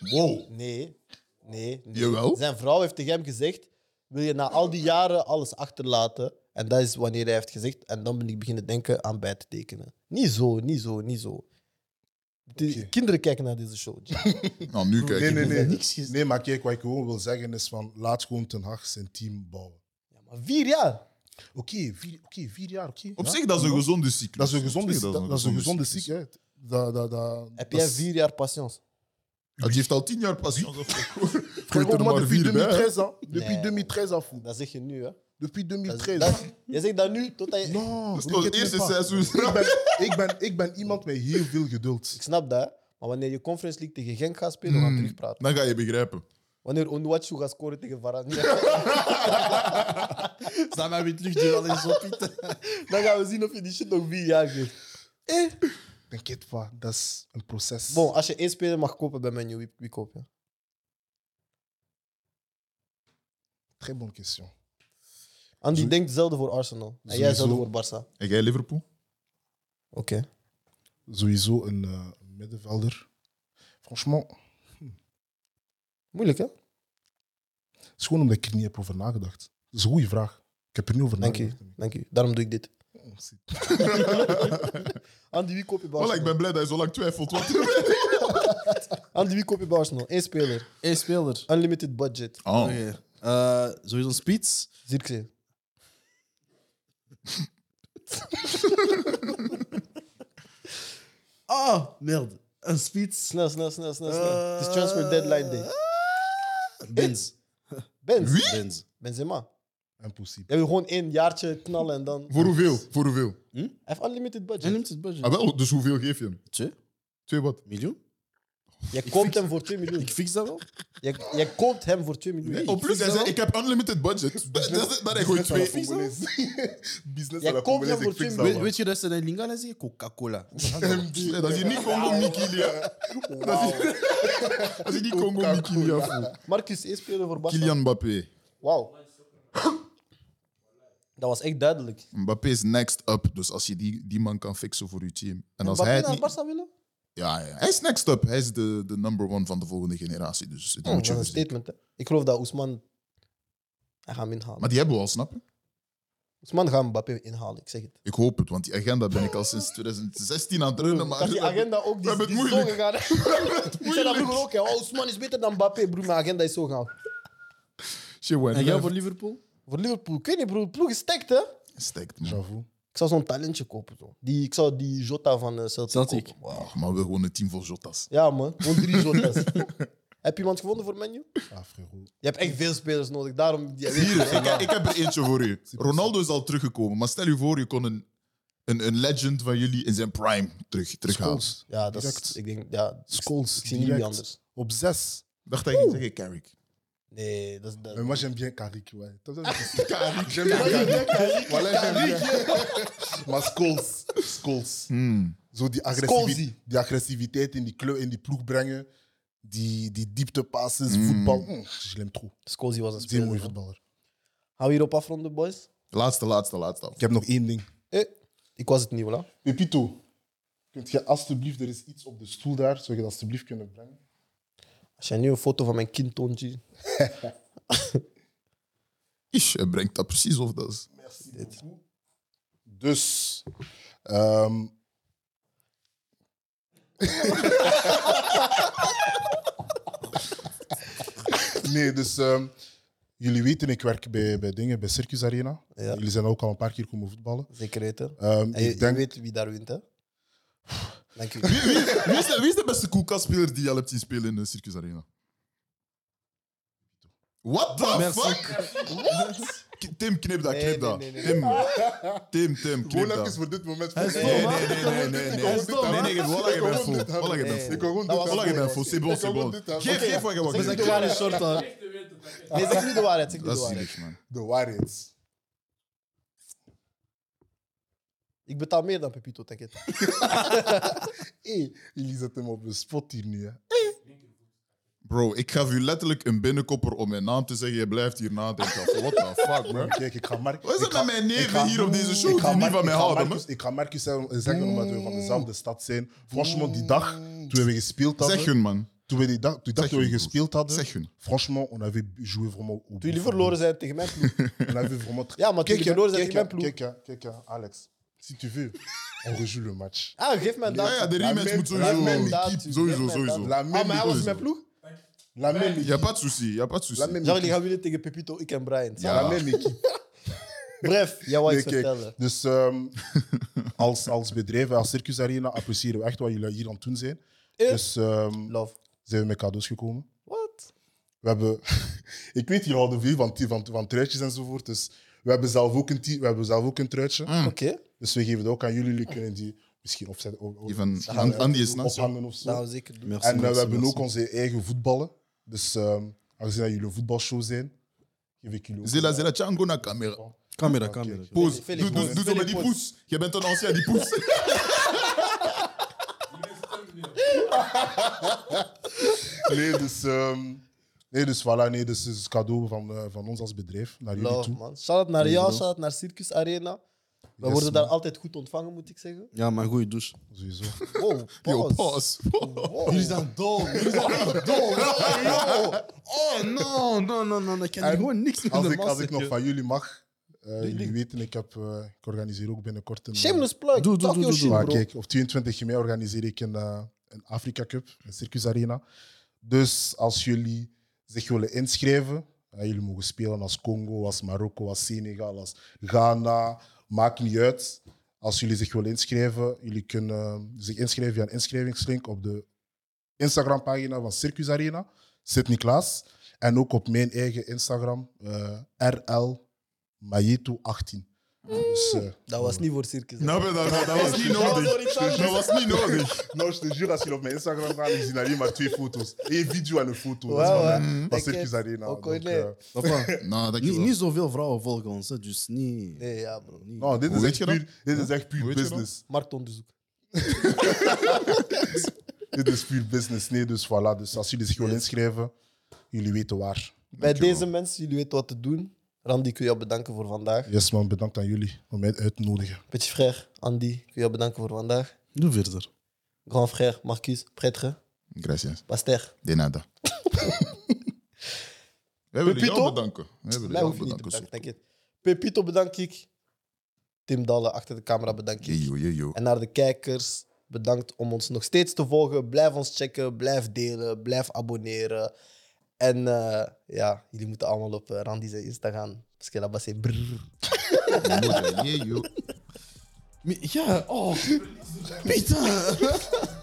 [SPEAKER 2] Wow.
[SPEAKER 1] Nee, nee. nee.
[SPEAKER 2] Jawel.
[SPEAKER 1] Zijn vrouw heeft tegen hem gezegd: Wil je na al die jaren alles achterlaten? En dat is wanneer hij heeft gezegd. En dan ben ik beginnen denken aan bij te tekenen. Niet zo, niet zo, niet zo. De
[SPEAKER 3] Oké.
[SPEAKER 1] Kinderen kijken naar deze show. Jim.
[SPEAKER 2] Nou, nu kijk
[SPEAKER 3] Nee,
[SPEAKER 2] je.
[SPEAKER 3] nee,
[SPEAKER 1] Ik heb
[SPEAKER 3] nee.
[SPEAKER 1] niks gezien.
[SPEAKER 3] Nee, maar kijk, wat ik gewoon wil zeggen is van, laat gewoon Ten Hag zijn team bouwen.
[SPEAKER 1] Ja, maar vier jaar.
[SPEAKER 3] Oké, vier, oké, vier jaar, oké.
[SPEAKER 2] Op
[SPEAKER 3] Ja?
[SPEAKER 2] zich, dat is een gezonde cyclus.
[SPEAKER 3] Dat is een gezonde,
[SPEAKER 2] Op zich,
[SPEAKER 3] dat, dat is een gezonde
[SPEAKER 2] cyclus.
[SPEAKER 3] ziekheid. Dat, dat, dat,
[SPEAKER 1] Heb
[SPEAKER 3] dat
[SPEAKER 1] jij
[SPEAKER 3] is-
[SPEAKER 1] vier jaar patience?
[SPEAKER 2] Ja, Die heeft al tien jaar passie.
[SPEAKER 3] Frérot,
[SPEAKER 2] Gooi er
[SPEAKER 3] moi,
[SPEAKER 2] maar
[SPEAKER 3] depuis
[SPEAKER 2] vier bij, hè.
[SPEAKER 3] 2013, hein. Depuis
[SPEAKER 1] Nee.
[SPEAKER 3] 2013, à fou.
[SPEAKER 1] Dat zeg je nu, hè?
[SPEAKER 3] Depuis
[SPEAKER 1] Dat,
[SPEAKER 3] 2013.
[SPEAKER 1] dat- jij zegt dat nu totdat je.
[SPEAKER 3] Non,
[SPEAKER 2] Dat is toch het
[SPEAKER 3] t'inquiète
[SPEAKER 2] eerste
[SPEAKER 3] pas.
[SPEAKER 2] seizoen.
[SPEAKER 3] Ik ben, ik, ben, ik ben iemand met heel veel geduld.
[SPEAKER 1] Ik snap dat, hè. maar wanneer je Conference League tegen Genk gaat spelen, we gaan
[SPEAKER 2] Hmm.
[SPEAKER 1] terugpraten.
[SPEAKER 2] Dan ga je begrijpen.
[SPEAKER 1] Wanneer Onuachu gaat scoren tegen Varane,
[SPEAKER 4] Sta maar met lucht, die al eens op Pieter.
[SPEAKER 1] dan gaan we zien of je die shit nog vier jaar geeft.
[SPEAKER 3] T'inquiète pas, dat is een proces.
[SPEAKER 1] Bon, als je één speler mag kopen bij menu, wie, wie koop je?
[SPEAKER 3] Très bonne question.
[SPEAKER 1] Andy
[SPEAKER 3] Zo-
[SPEAKER 1] denkt hetzelfde voor Arsenal. En jij
[SPEAKER 3] Sowieso.
[SPEAKER 1] hetzelfde voor Barça.
[SPEAKER 2] En jij Liverpool?
[SPEAKER 1] Oké.
[SPEAKER 3] Sowieso een eh, middenvelder. Franchement,
[SPEAKER 1] Moeilijk, hè?
[SPEAKER 3] het is gewoon omdat ik er niet heb over nagedacht. Dat is een goede vraag. Ik heb er niet over
[SPEAKER 1] Dank je.
[SPEAKER 3] nagedacht.
[SPEAKER 1] Dank je. Daarom doe ik dit.
[SPEAKER 3] Oh, shit.
[SPEAKER 1] Andy, wie koop je bij
[SPEAKER 2] Wel, ik
[SPEAKER 1] Arsenal?
[SPEAKER 2] ben blij dat hij zo lang twijfelt. want-
[SPEAKER 1] Andy, wie koop je bij Arsenal? Eén speler.
[SPEAKER 4] Eén speler.
[SPEAKER 1] Unlimited budget.
[SPEAKER 2] Oh.
[SPEAKER 4] Oké. Eh, Sowieso een spits.
[SPEAKER 1] Zirkzee.
[SPEAKER 4] Ah, meld. Een spits.
[SPEAKER 1] Snel, snel, snel, snel, snel.
[SPEAKER 4] Eh,
[SPEAKER 1] Het is transfer deadline day.
[SPEAKER 4] Benz.
[SPEAKER 1] Benz.
[SPEAKER 4] Benz.
[SPEAKER 1] Benzema.
[SPEAKER 3] Impossible.
[SPEAKER 1] Jij wil gewoon één jaartje knallen en dan...
[SPEAKER 2] Voor hoeveel? Voor hoeveel?
[SPEAKER 1] Hij heeft unlimited
[SPEAKER 4] Jij
[SPEAKER 1] budget.
[SPEAKER 4] neemt het budget.
[SPEAKER 2] Ah, wel, dus hoeveel geef je hem?
[SPEAKER 4] Twee
[SPEAKER 2] Twee wat?
[SPEAKER 4] miljoen?
[SPEAKER 1] Jij koopt hem voor 2 miljoen.
[SPEAKER 4] Ik fix dat wel.
[SPEAKER 1] Jij, jij koopt hem voor 2 miljoen.
[SPEAKER 2] Op plus, hij zei, ik heb unlimited budget. Dat dat- dat hij gooit
[SPEAKER 3] Business à la
[SPEAKER 2] twee.
[SPEAKER 3] Congolaise. Business
[SPEAKER 1] Jij
[SPEAKER 3] à la
[SPEAKER 1] koopt
[SPEAKER 3] Congolaise,
[SPEAKER 1] hem voor
[SPEAKER 3] ik fix
[SPEAKER 1] twee
[SPEAKER 3] dat,
[SPEAKER 1] miljoen.
[SPEAKER 4] Weet,
[SPEAKER 3] man.
[SPEAKER 4] weet je dat ze in Lingala zeggen? Coca-Cola.
[SPEAKER 2] Ja, Dat is hier niet Congo Mikilia. Dat is hier- dat is hier niet Congo Mikilia. voor.
[SPEAKER 1] Marcus, één speler voor Barca.
[SPEAKER 2] Kylian Mbappé.
[SPEAKER 1] Wauw. Dat was echt duidelijk.
[SPEAKER 2] Mbappé is next up. Dus als je die, die man kan fixen voor je team. En als hij
[SPEAKER 1] Mbappé
[SPEAKER 2] het
[SPEAKER 1] naar
[SPEAKER 2] niet...
[SPEAKER 1] Barca willen?
[SPEAKER 2] Ja, ja, hij is next up. Hij is de, de number one van de volgende generatie. Dus dat
[SPEAKER 1] Oh, dat
[SPEAKER 2] moet je
[SPEAKER 1] is een
[SPEAKER 2] voorzien.
[SPEAKER 1] statement. Hè. Ik geloof dat Oesman... Hij gaat hem inhalen.
[SPEAKER 2] Maar die hebben we al, snap je?
[SPEAKER 1] Oesman gaat Mbappé inhalen, ik zeg het.
[SPEAKER 2] Ik hoop het, want die agenda ben ik al sinds 2016 aan het runnen. Maar
[SPEAKER 1] Dat die agenda ook die,
[SPEAKER 2] hebben het
[SPEAKER 1] die zo
[SPEAKER 2] moeilijk.
[SPEAKER 1] gegaan. hè. Ik zei dat vroeger ook. hè. Oh, Oesman is beter dan Mbappé, broer. Mijn agenda is zo gaan.
[SPEAKER 2] Shit, when
[SPEAKER 5] En jij
[SPEAKER 2] life
[SPEAKER 5] voor Liverpool?
[SPEAKER 1] Voor Liverpool, ik weet niet, broer. Ploeg is stacked, hè.
[SPEAKER 2] Stekt, man.
[SPEAKER 3] J'avoue.
[SPEAKER 1] Ik zou zo'n talentje kopen. Zo. Die, ik zou die Jota van eh, Celtic,
[SPEAKER 5] Celtic.
[SPEAKER 1] kopen. Wauw.
[SPEAKER 2] Ach, maar we gewoon een team vol Jotas.
[SPEAKER 1] Ja, man. Gewoon drie Jota's. Heb je iemand gevonden voor menu?
[SPEAKER 3] Ah, frérot.
[SPEAKER 1] Je hebt echt veel spelers nodig. Daarom...
[SPEAKER 2] Hier, ik, ik heb er eentje voor u. Ronaldo is al teruggekomen, maar stel je voor, je kon een, een, een legend van jullie in zijn prime terug, terughalen.
[SPEAKER 3] Scholes.
[SPEAKER 1] Ja, dat is...
[SPEAKER 3] Direct.
[SPEAKER 1] Ik denk... Ja,
[SPEAKER 3] Scholes.
[SPEAKER 1] ik zie niet wie
[SPEAKER 3] direct.
[SPEAKER 1] anders.
[SPEAKER 3] Op zes.
[SPEAKER 2] Dacht hij ging zeggen, Carrick.
[SPEAKER 1] Nee, dat is... Dat...
[SPEAKER 3] Mais moi, j'aime bien Karik, ouais. T'as besoin de-
[SPEAKER 2] Carrick.
[SPEAKER 3] J'aime bien Carrick. Voilà, j'aime bien. Maar Scholes. Scholes.
[SPEAKER 2] Hmm.
[SPEAKER 3] Zo die, agressiviteit, die agressiviteit in die club, in die ploeg brengen. Die, die dieptepasses,
[SPEAKER 2] Mm.
[SPEAKER 3] voetbal. Mm, je l'aime trop.
[SPEAKER 1] Scozy was een
[SPEAKER 3] Zeer
[SPEAKER 1] speler.
[SPEAKER 3] mooie
[SPEAKER 1] man.
[SPEAKER 3] voetballer.
[SPEAKER 1] Gaan we hierop afronden, boys?
[SPEAKER 2] Laatste, laatste, laatste.
[SPEAKER 3] Ik heb nog één ding.
[SPEAKER 1] Eh, ik was het niet, voilà.
[SPEAKER 3] Pepito, kunt je alstublieft, er is iets op de stoel daar, zou je dat alstublieft kunnen brengen?
[SPEAKER 1] Als jij nu een foto van mijn kind toont, G,
[SPEAKER 2] Ish, hij brengt dat precies of dat is.
[SPEAKER 3] Merci beaucoup. Dus, ehm, nee, dus ehm, jullie weten, ik werk bij, bij dingen, bij Circus Arena.
[SPEAKER 1] Ja.
[SPEAKER 3] Jullie zijn ook al een paar keer komen voetballen.
[SPEAKER 1] zeker weten.
[SPEAKER 3] Ehm,
[SPEAKER 1] En je,
[SPEAKER 3] ik denk,
[SPEAKER 1] je weet wie daar wint, hè? Dank u.
[SPEAKER 2] Wie, wie, wie is de, wie is de beste koelkastspeler die je al hebt zien spelen in de Circus Arena? What the
[SPEAKER 5] Merci.
[SPEAKER 2] fuck? What? K- Tim, knip dat,
[SPEAKER 1] Nee,
[SPEAKER 2] knip
[SPEAKER 1] nee,
[SPEAKER 2] dat.
[SPEAKER 1] nee, nee.
[SPEAKER 2] Tim, Tim, Tim, knip
[SPEAKER 3] gewoon even
[SPEAKER 2] dat.
[SPEAKER 3] voor dit moment.
[SPEAKER 2] Nee, nee,
[SPEAKER 3] eh,
[SPEAKER 2] nee, nee, nee. Nee,
[SPEAKER 3] Hij is dom,
[SPEAKER 2] nee, nee, nee, voilà, je bent vol. Voilà, je bent
[SPEAKER 1] Nee.
[SPEAKER 2] vol.
[SPEAKER 3] Ik wil gewoon
[SPEAKER 2] Ah, Voilà, je
[SPEAKER 3] dit
[SPEAKER 2] bent vol. C'est
[SPEAKER 3] hebben.
[SPEAKER 2] bon, c'est bon.
[SPEAKER 3] Ik wil dit hebben.
[SPEAKER 2] Geef, geef wat je
[SPEAKER 1] Zeg
[SPEAKER 2] wilt.
[SPEAKER 1] het maar.
[SPEAKER 5] short aan.
[SPEAKER 1] Nee, zeg nu de waarheid. Zeg nu de
[SPEAKER 2] Dat is
[SPEAKER 1] waarheid.
[SPEAKER 2] zielig, man.
[SPEAKER 3] De waarheid.
[SPEAKER 1] Ik betaal meer dan Pepito, denk ik.
[SPEAKER 3] Hé, hey, jullie zetten hem op de spot hier nu. Hè.
[SPEAKER 2] Bro, ik gaf u letterlijk een binnenkopper om mijn naam te zeggen. Je blijft hier nadenken. What the fuck, man?
[SPEAKER 3] Kijk, ik ga Mark.
[SPEAKER 2] Wat is
[SPEAKER 3] ik
[SPEAKER 2] het
[SPEAKER 3] ga-
[SPEAKER 2] met mijn neven
[SPEAKER 3] ik ga-
[SPEAKER 2] hier op deze show
[SPEAKER 3] ik ga
[SPEAKER 2] die niet
[SPEAKER 3] Mark-
[SPEAKER 2] van mij
[SPEAKER 3] ik ga
[SPEAKER 2] houden,
[SPEAKER 3] Marcus- Ik ga Marcus hein, zeggen- zeggen omdat we van dezelfde stad zijn. Franchement, die dag toen we gespeeld hadden.
[SPEAKER 2] Zeg hun, man.
[SPEAKER 3] Toen we die dag, die dag
[SPEAKER 2] Zeg
[SPEAKER 3] toen we
[SPEAKER 2] hun,
[SPEAKER 3] gespeeld hadden.
[SPEAKER 2] Zeg hun.
[SPEAKER 3] Franchement, on avait joué vraiment au
[SPEAKER 1] Toen jullie verloren zijn tegen mijn ploeg.
[SPEAKER 3] On avait vraiment très-
[SPEAKER 1] Ja, maar toen
[SPEAKER 3] Kijk,
[SPEAKER 1] jullie
[SPEAKER 3] hè,
[SPEAKER 1] verloren zijn
[SPEAKER 3] kijk,
[SPEAKER 1] tegen mijn
[SPEAKER 3] hè,
[SPEAKER 1] ploeg.
[SPEAKER 3] Kijk, hè, kijk, hè, Alex. Si tu veux, on rejoue le match.
[SPEAKER 1] Ah, geef mij een
[SPEAKER 2] Ja, ja,
[SPEAKER 1] datum.
[SPEAKER 2] de rematch
[SPEAKER 3] men-
[SPEAKER 2] moet
[SPEAKER 1] Geef mij
[SPEAKER 2] sowieso.
[SPEAKER 1] een
[SPEAKER 2] die
[SPEAKER 1] datum.
[SPEAKER 2] keep,
[SPEAKER 1] Geef
[SPEAKER 2] Sowieso,
[SPEAKER 1] mij een
[SPEAKER 2] sowieso.
[SPEAKER 1] datum.
[SPEAKER 3] La
[SPEAKER 1] Ah,
[SPEAKER 3] même
[SPEAKER 1] maar hij was
[SPEAKER 3] équipe.
[SPEAKER 1] met mijn ploeg?
[SPEAKER 3] La même
[SPEAKER 2] Je hebt
[SPEAKER 3] équipe.
[SPEAKER 2] pas de souci, je hebt pas de
[SPEAKER 3] La
[SPEAKER 2] souci.
[SPEAKER 3] même
[SPEAKER 1] Zou jullie
[SPEAKER 3] équipe.
[SPEAKER 1] gaan winnen tegen Pepito, ik en Brian?
[SPEAKER 2] Ja.
[SPEAKER 3] La même équipe.
[SPEAKER 1] Bref, jij wou iets
[SPEAKER 3] Nee, kijk,
[SPEAKER 1] vertellen.
[SPEAKER 3] Dus ehm, als, als bedrijf, als Circus Arena, appreciëren we echt wat jullie hier aan het doen zijn.
[SPEAKER 1] Eh?
[SPEAKER 3] Dus ehm,
[SPEAKER 1] Love.
[SPEAKER 3] zijn we met cadeaus gekomen.
[SPEAKER 1] What?
[SPEAKER 3] We hebben, ik weet, jullie houden veel van, van, van truitjes enzovoort. Dus we hebben zelf ook een, ti- we hebben zelf ook een truitje.
[SPEAKER 2] Mm.
[SPEAKER 1] Oké.
[SPEAKER 3] Dus we geven dat ook aan jullie. Jullie kunnen die misschien opzetten. Of, of-
[SPEAKER 2] Die van
[SPEAKER 3] misschien
[SPEAKER 2] An- Andy is naast, ja. Nou,
[SPEAKER 3] ophangen of zo.
[SPEAKER 1] Dat gaan we nou, zeker doen.
[SPEAKER 5] Merci,
[SPEAKER 3] en eh,
[SPEAKER 5] merci,
[SPEAKER 3] we hebben
[SPEAKER 5] merci.
[SPEAKER 3] ook onze eigen voetballen. Dus ehm, aangezien dat jullie een voetbalshow zijn, geef ik jullie ook.
[SPEAKER 2] Zela, zela, tjango na camera.
[SPEAKER 5] Camera,
[SPEAKER 3] Oké.
[SPEAKER 5] camera.
[SPEAKER 2] Pose.
[SPEAKER 1] Felix,
[SPEAKER 2] Doe- Doe
[SPEAKER 1] Felix,
[SPEAKER 2] doe zo met die
[SPEAKER 1] Felix,
[SPEAKER 2] poes. Je bent een ancien, die poes.
[SPEAKER 3] Nee, dus, ehm, nee, dus voilà. Nee, dus het is een cadeau van, eh, van ons als bedrijf naar jullie
[SPEAKER 1] Love,
[SPEAKER 3] toe.
[SPEAKER 1] man. Shout-out naar jou,
[SPEAKER 3] Sowieso.
[SPEAKER 1] shout-out naar Circus Arena. We
[SPEAKER 3] Yes,
[SPEAKER 1] worden
[SPEAKER 3] man.
[SPEAKER 1] daar altijd goed ontvangen, moet ik zeggen.
[SPEAKER 5] Ja, maar goede douche.
[SPEAKER 3] Sowieso.
[SPEAKER 1] Wow,
[SPEAKER 2] Yo,
[SPEAKER 1] pause.
[SPEAKER 2] pause.
[SPEAKER 4] Oh,
[SPEAKER 1] Wow.
[SPEAKER 5] Jullie zijn dol. Jullie zijn echt dol. Oh, no, no, no, no. Ik kan
[SPEAKER 3] En
[SPEAKER 5] gewoon niks meer
[SPEAKER 3] Als ik,
[SPEAKER 5] normaal
[SPEAKER 3] als ik nog
[SPEAKER 5] zeggen.
[SPEAKER 3] van jullie mag, eh, jullie
[SPEAKER 1] ding.
[SPEAKER 3] weten, ik, heb, eh, ik organiseer ook binnenkort een.
[SPEAKER 1] Shameless plug.
[SPEAKER 5] Doe, doe,
[SPEAKER 1] Talk
[SPEAKER 5] doe,
[SPEAKER 1] your
[SPEAKER 5] doe,
[SPEAKER 1] shit,
[SPEAKER 5] doe.
[SPEAKER 3] Maar
[SPEAKER 1] bro.
[SPEAKER 3] kijk, op 22 mei organiseer ik een, eh, een Afrika Cup, een Circus Arena. Dus als jullie zich willen inschrijven, eh, jullie mogen spelen als Congo, als Marokko, als Senegal, als Ghana, maakt niet uit. Als jullie zich willen inschrijven, jullie kunnen eh, zich inschrijven via een inschrijvingslink op de Instagram-pagina van Circus Arena, Sydney Klaas. En ook op mijn eigen Instagram, eh, RL Majeto 18. Dus, eh,
[SPEAKER 1] Dat was niet voor Circus.
[SPEAKER 2] Nou, ben- dat dat was niet nodig. Dat was niet nodig.
[SPEAKER 3] Nou, je te jure, als je op mijn Instagram gaat, ik zie alleen maar twee foto's. Eén video en een foto.
[SPEAKER 1] Ouais,
[SPEAKER 3] dat is van,
[SPEAKER 1] ouais.
[SPEAKER 3] van
[SPEAKER 1] Ik
[SPEAKER 3] eh? Circus
[SPEAKER 1] ken-
[SPEAKER 3] Arena.
[SPEAKER 1] ook
[SPEAKER 3] Donc,
[SPEAKER 1] al, nee.
[SPEAKER 3] eh,
[SPEAKER 5] Papa,
[SPEAKER 2] Nou,
[SPEAKER 5] niet,
[SPEAKER 2] dankjewel.
[SPEAKER 5] niet zoveel vrouwen volgen ons, hè, dus niet.
[SPEAKER 1] Nee, ja, bro.
[SPEAKER 5] niet.
[SPEAKER 3] nou, dit
[SPEAKER 2] Hoe
[SPEAKER 3] is,
[SPEAKER 2] weet
[SPEAKER 3] echt
[SPEAKER 2] je dat?
[SPEAKER 3] puur, dit is echt puur
[SPEAKER 2] Hoe weet je dat?
[SPEAKER 3] business.
[SPEAKER 1] Marktonderzoek.
[SPEAKER 3] Dit is puur business. Nee, dus voilà. Dus als jullie zich willen inschrijven, jullie weten waar.
[SPEAKER 1] Bij deze mensen, jullie weten wat te doen. Randy, ik wil jou bedanken voor vandaag.
[SPEAKER 3] Yes, man. Bedankt aan jullie om mij uit te nodigen.
[SPEAKER 1] Petit frère, Andy, ik wil jou bedanken voor vandaag.
[SPEAKER 5] Doe verder.
[SPEAKER 1] Grand frère, Marcus, prêtre,
[SPEAKER 2] Gracias.
[SPEAKER 1] pasteur.
[SPEAKER 2] De nada. We willen
[SPEAKER 1] Pepito?
[SPEAKER 2] jou bedanken. We willen
[SPEAKER 1] Mij
[SPEAKER 2] jou
[SPEAKER 1] hoef je niet te
[SPEAKER 2] bedanken.
[SPEAKER 1] bedanken,
[SPEAKER 2] Sok.
[SPEAKER 1] denk ik. Pepito bedank ik. Tim Dalle achter de camera bedank ik.
[SPEAKER 2] Jejo, jejo.
[SPEAKER 1] En naar de kijkers, bedankt om ons nog steeds te volgen. Blijf ons checken, blijf delen, blijf abonneren. En eh, ja, jullie moeten allemaal op eh, Randy zijn Insta gaan. Parce que là-bas c'est brrr.
[SPEAKER 2] Jejo.
[SPEAKER 5] Maar Ja, oh. Pieter.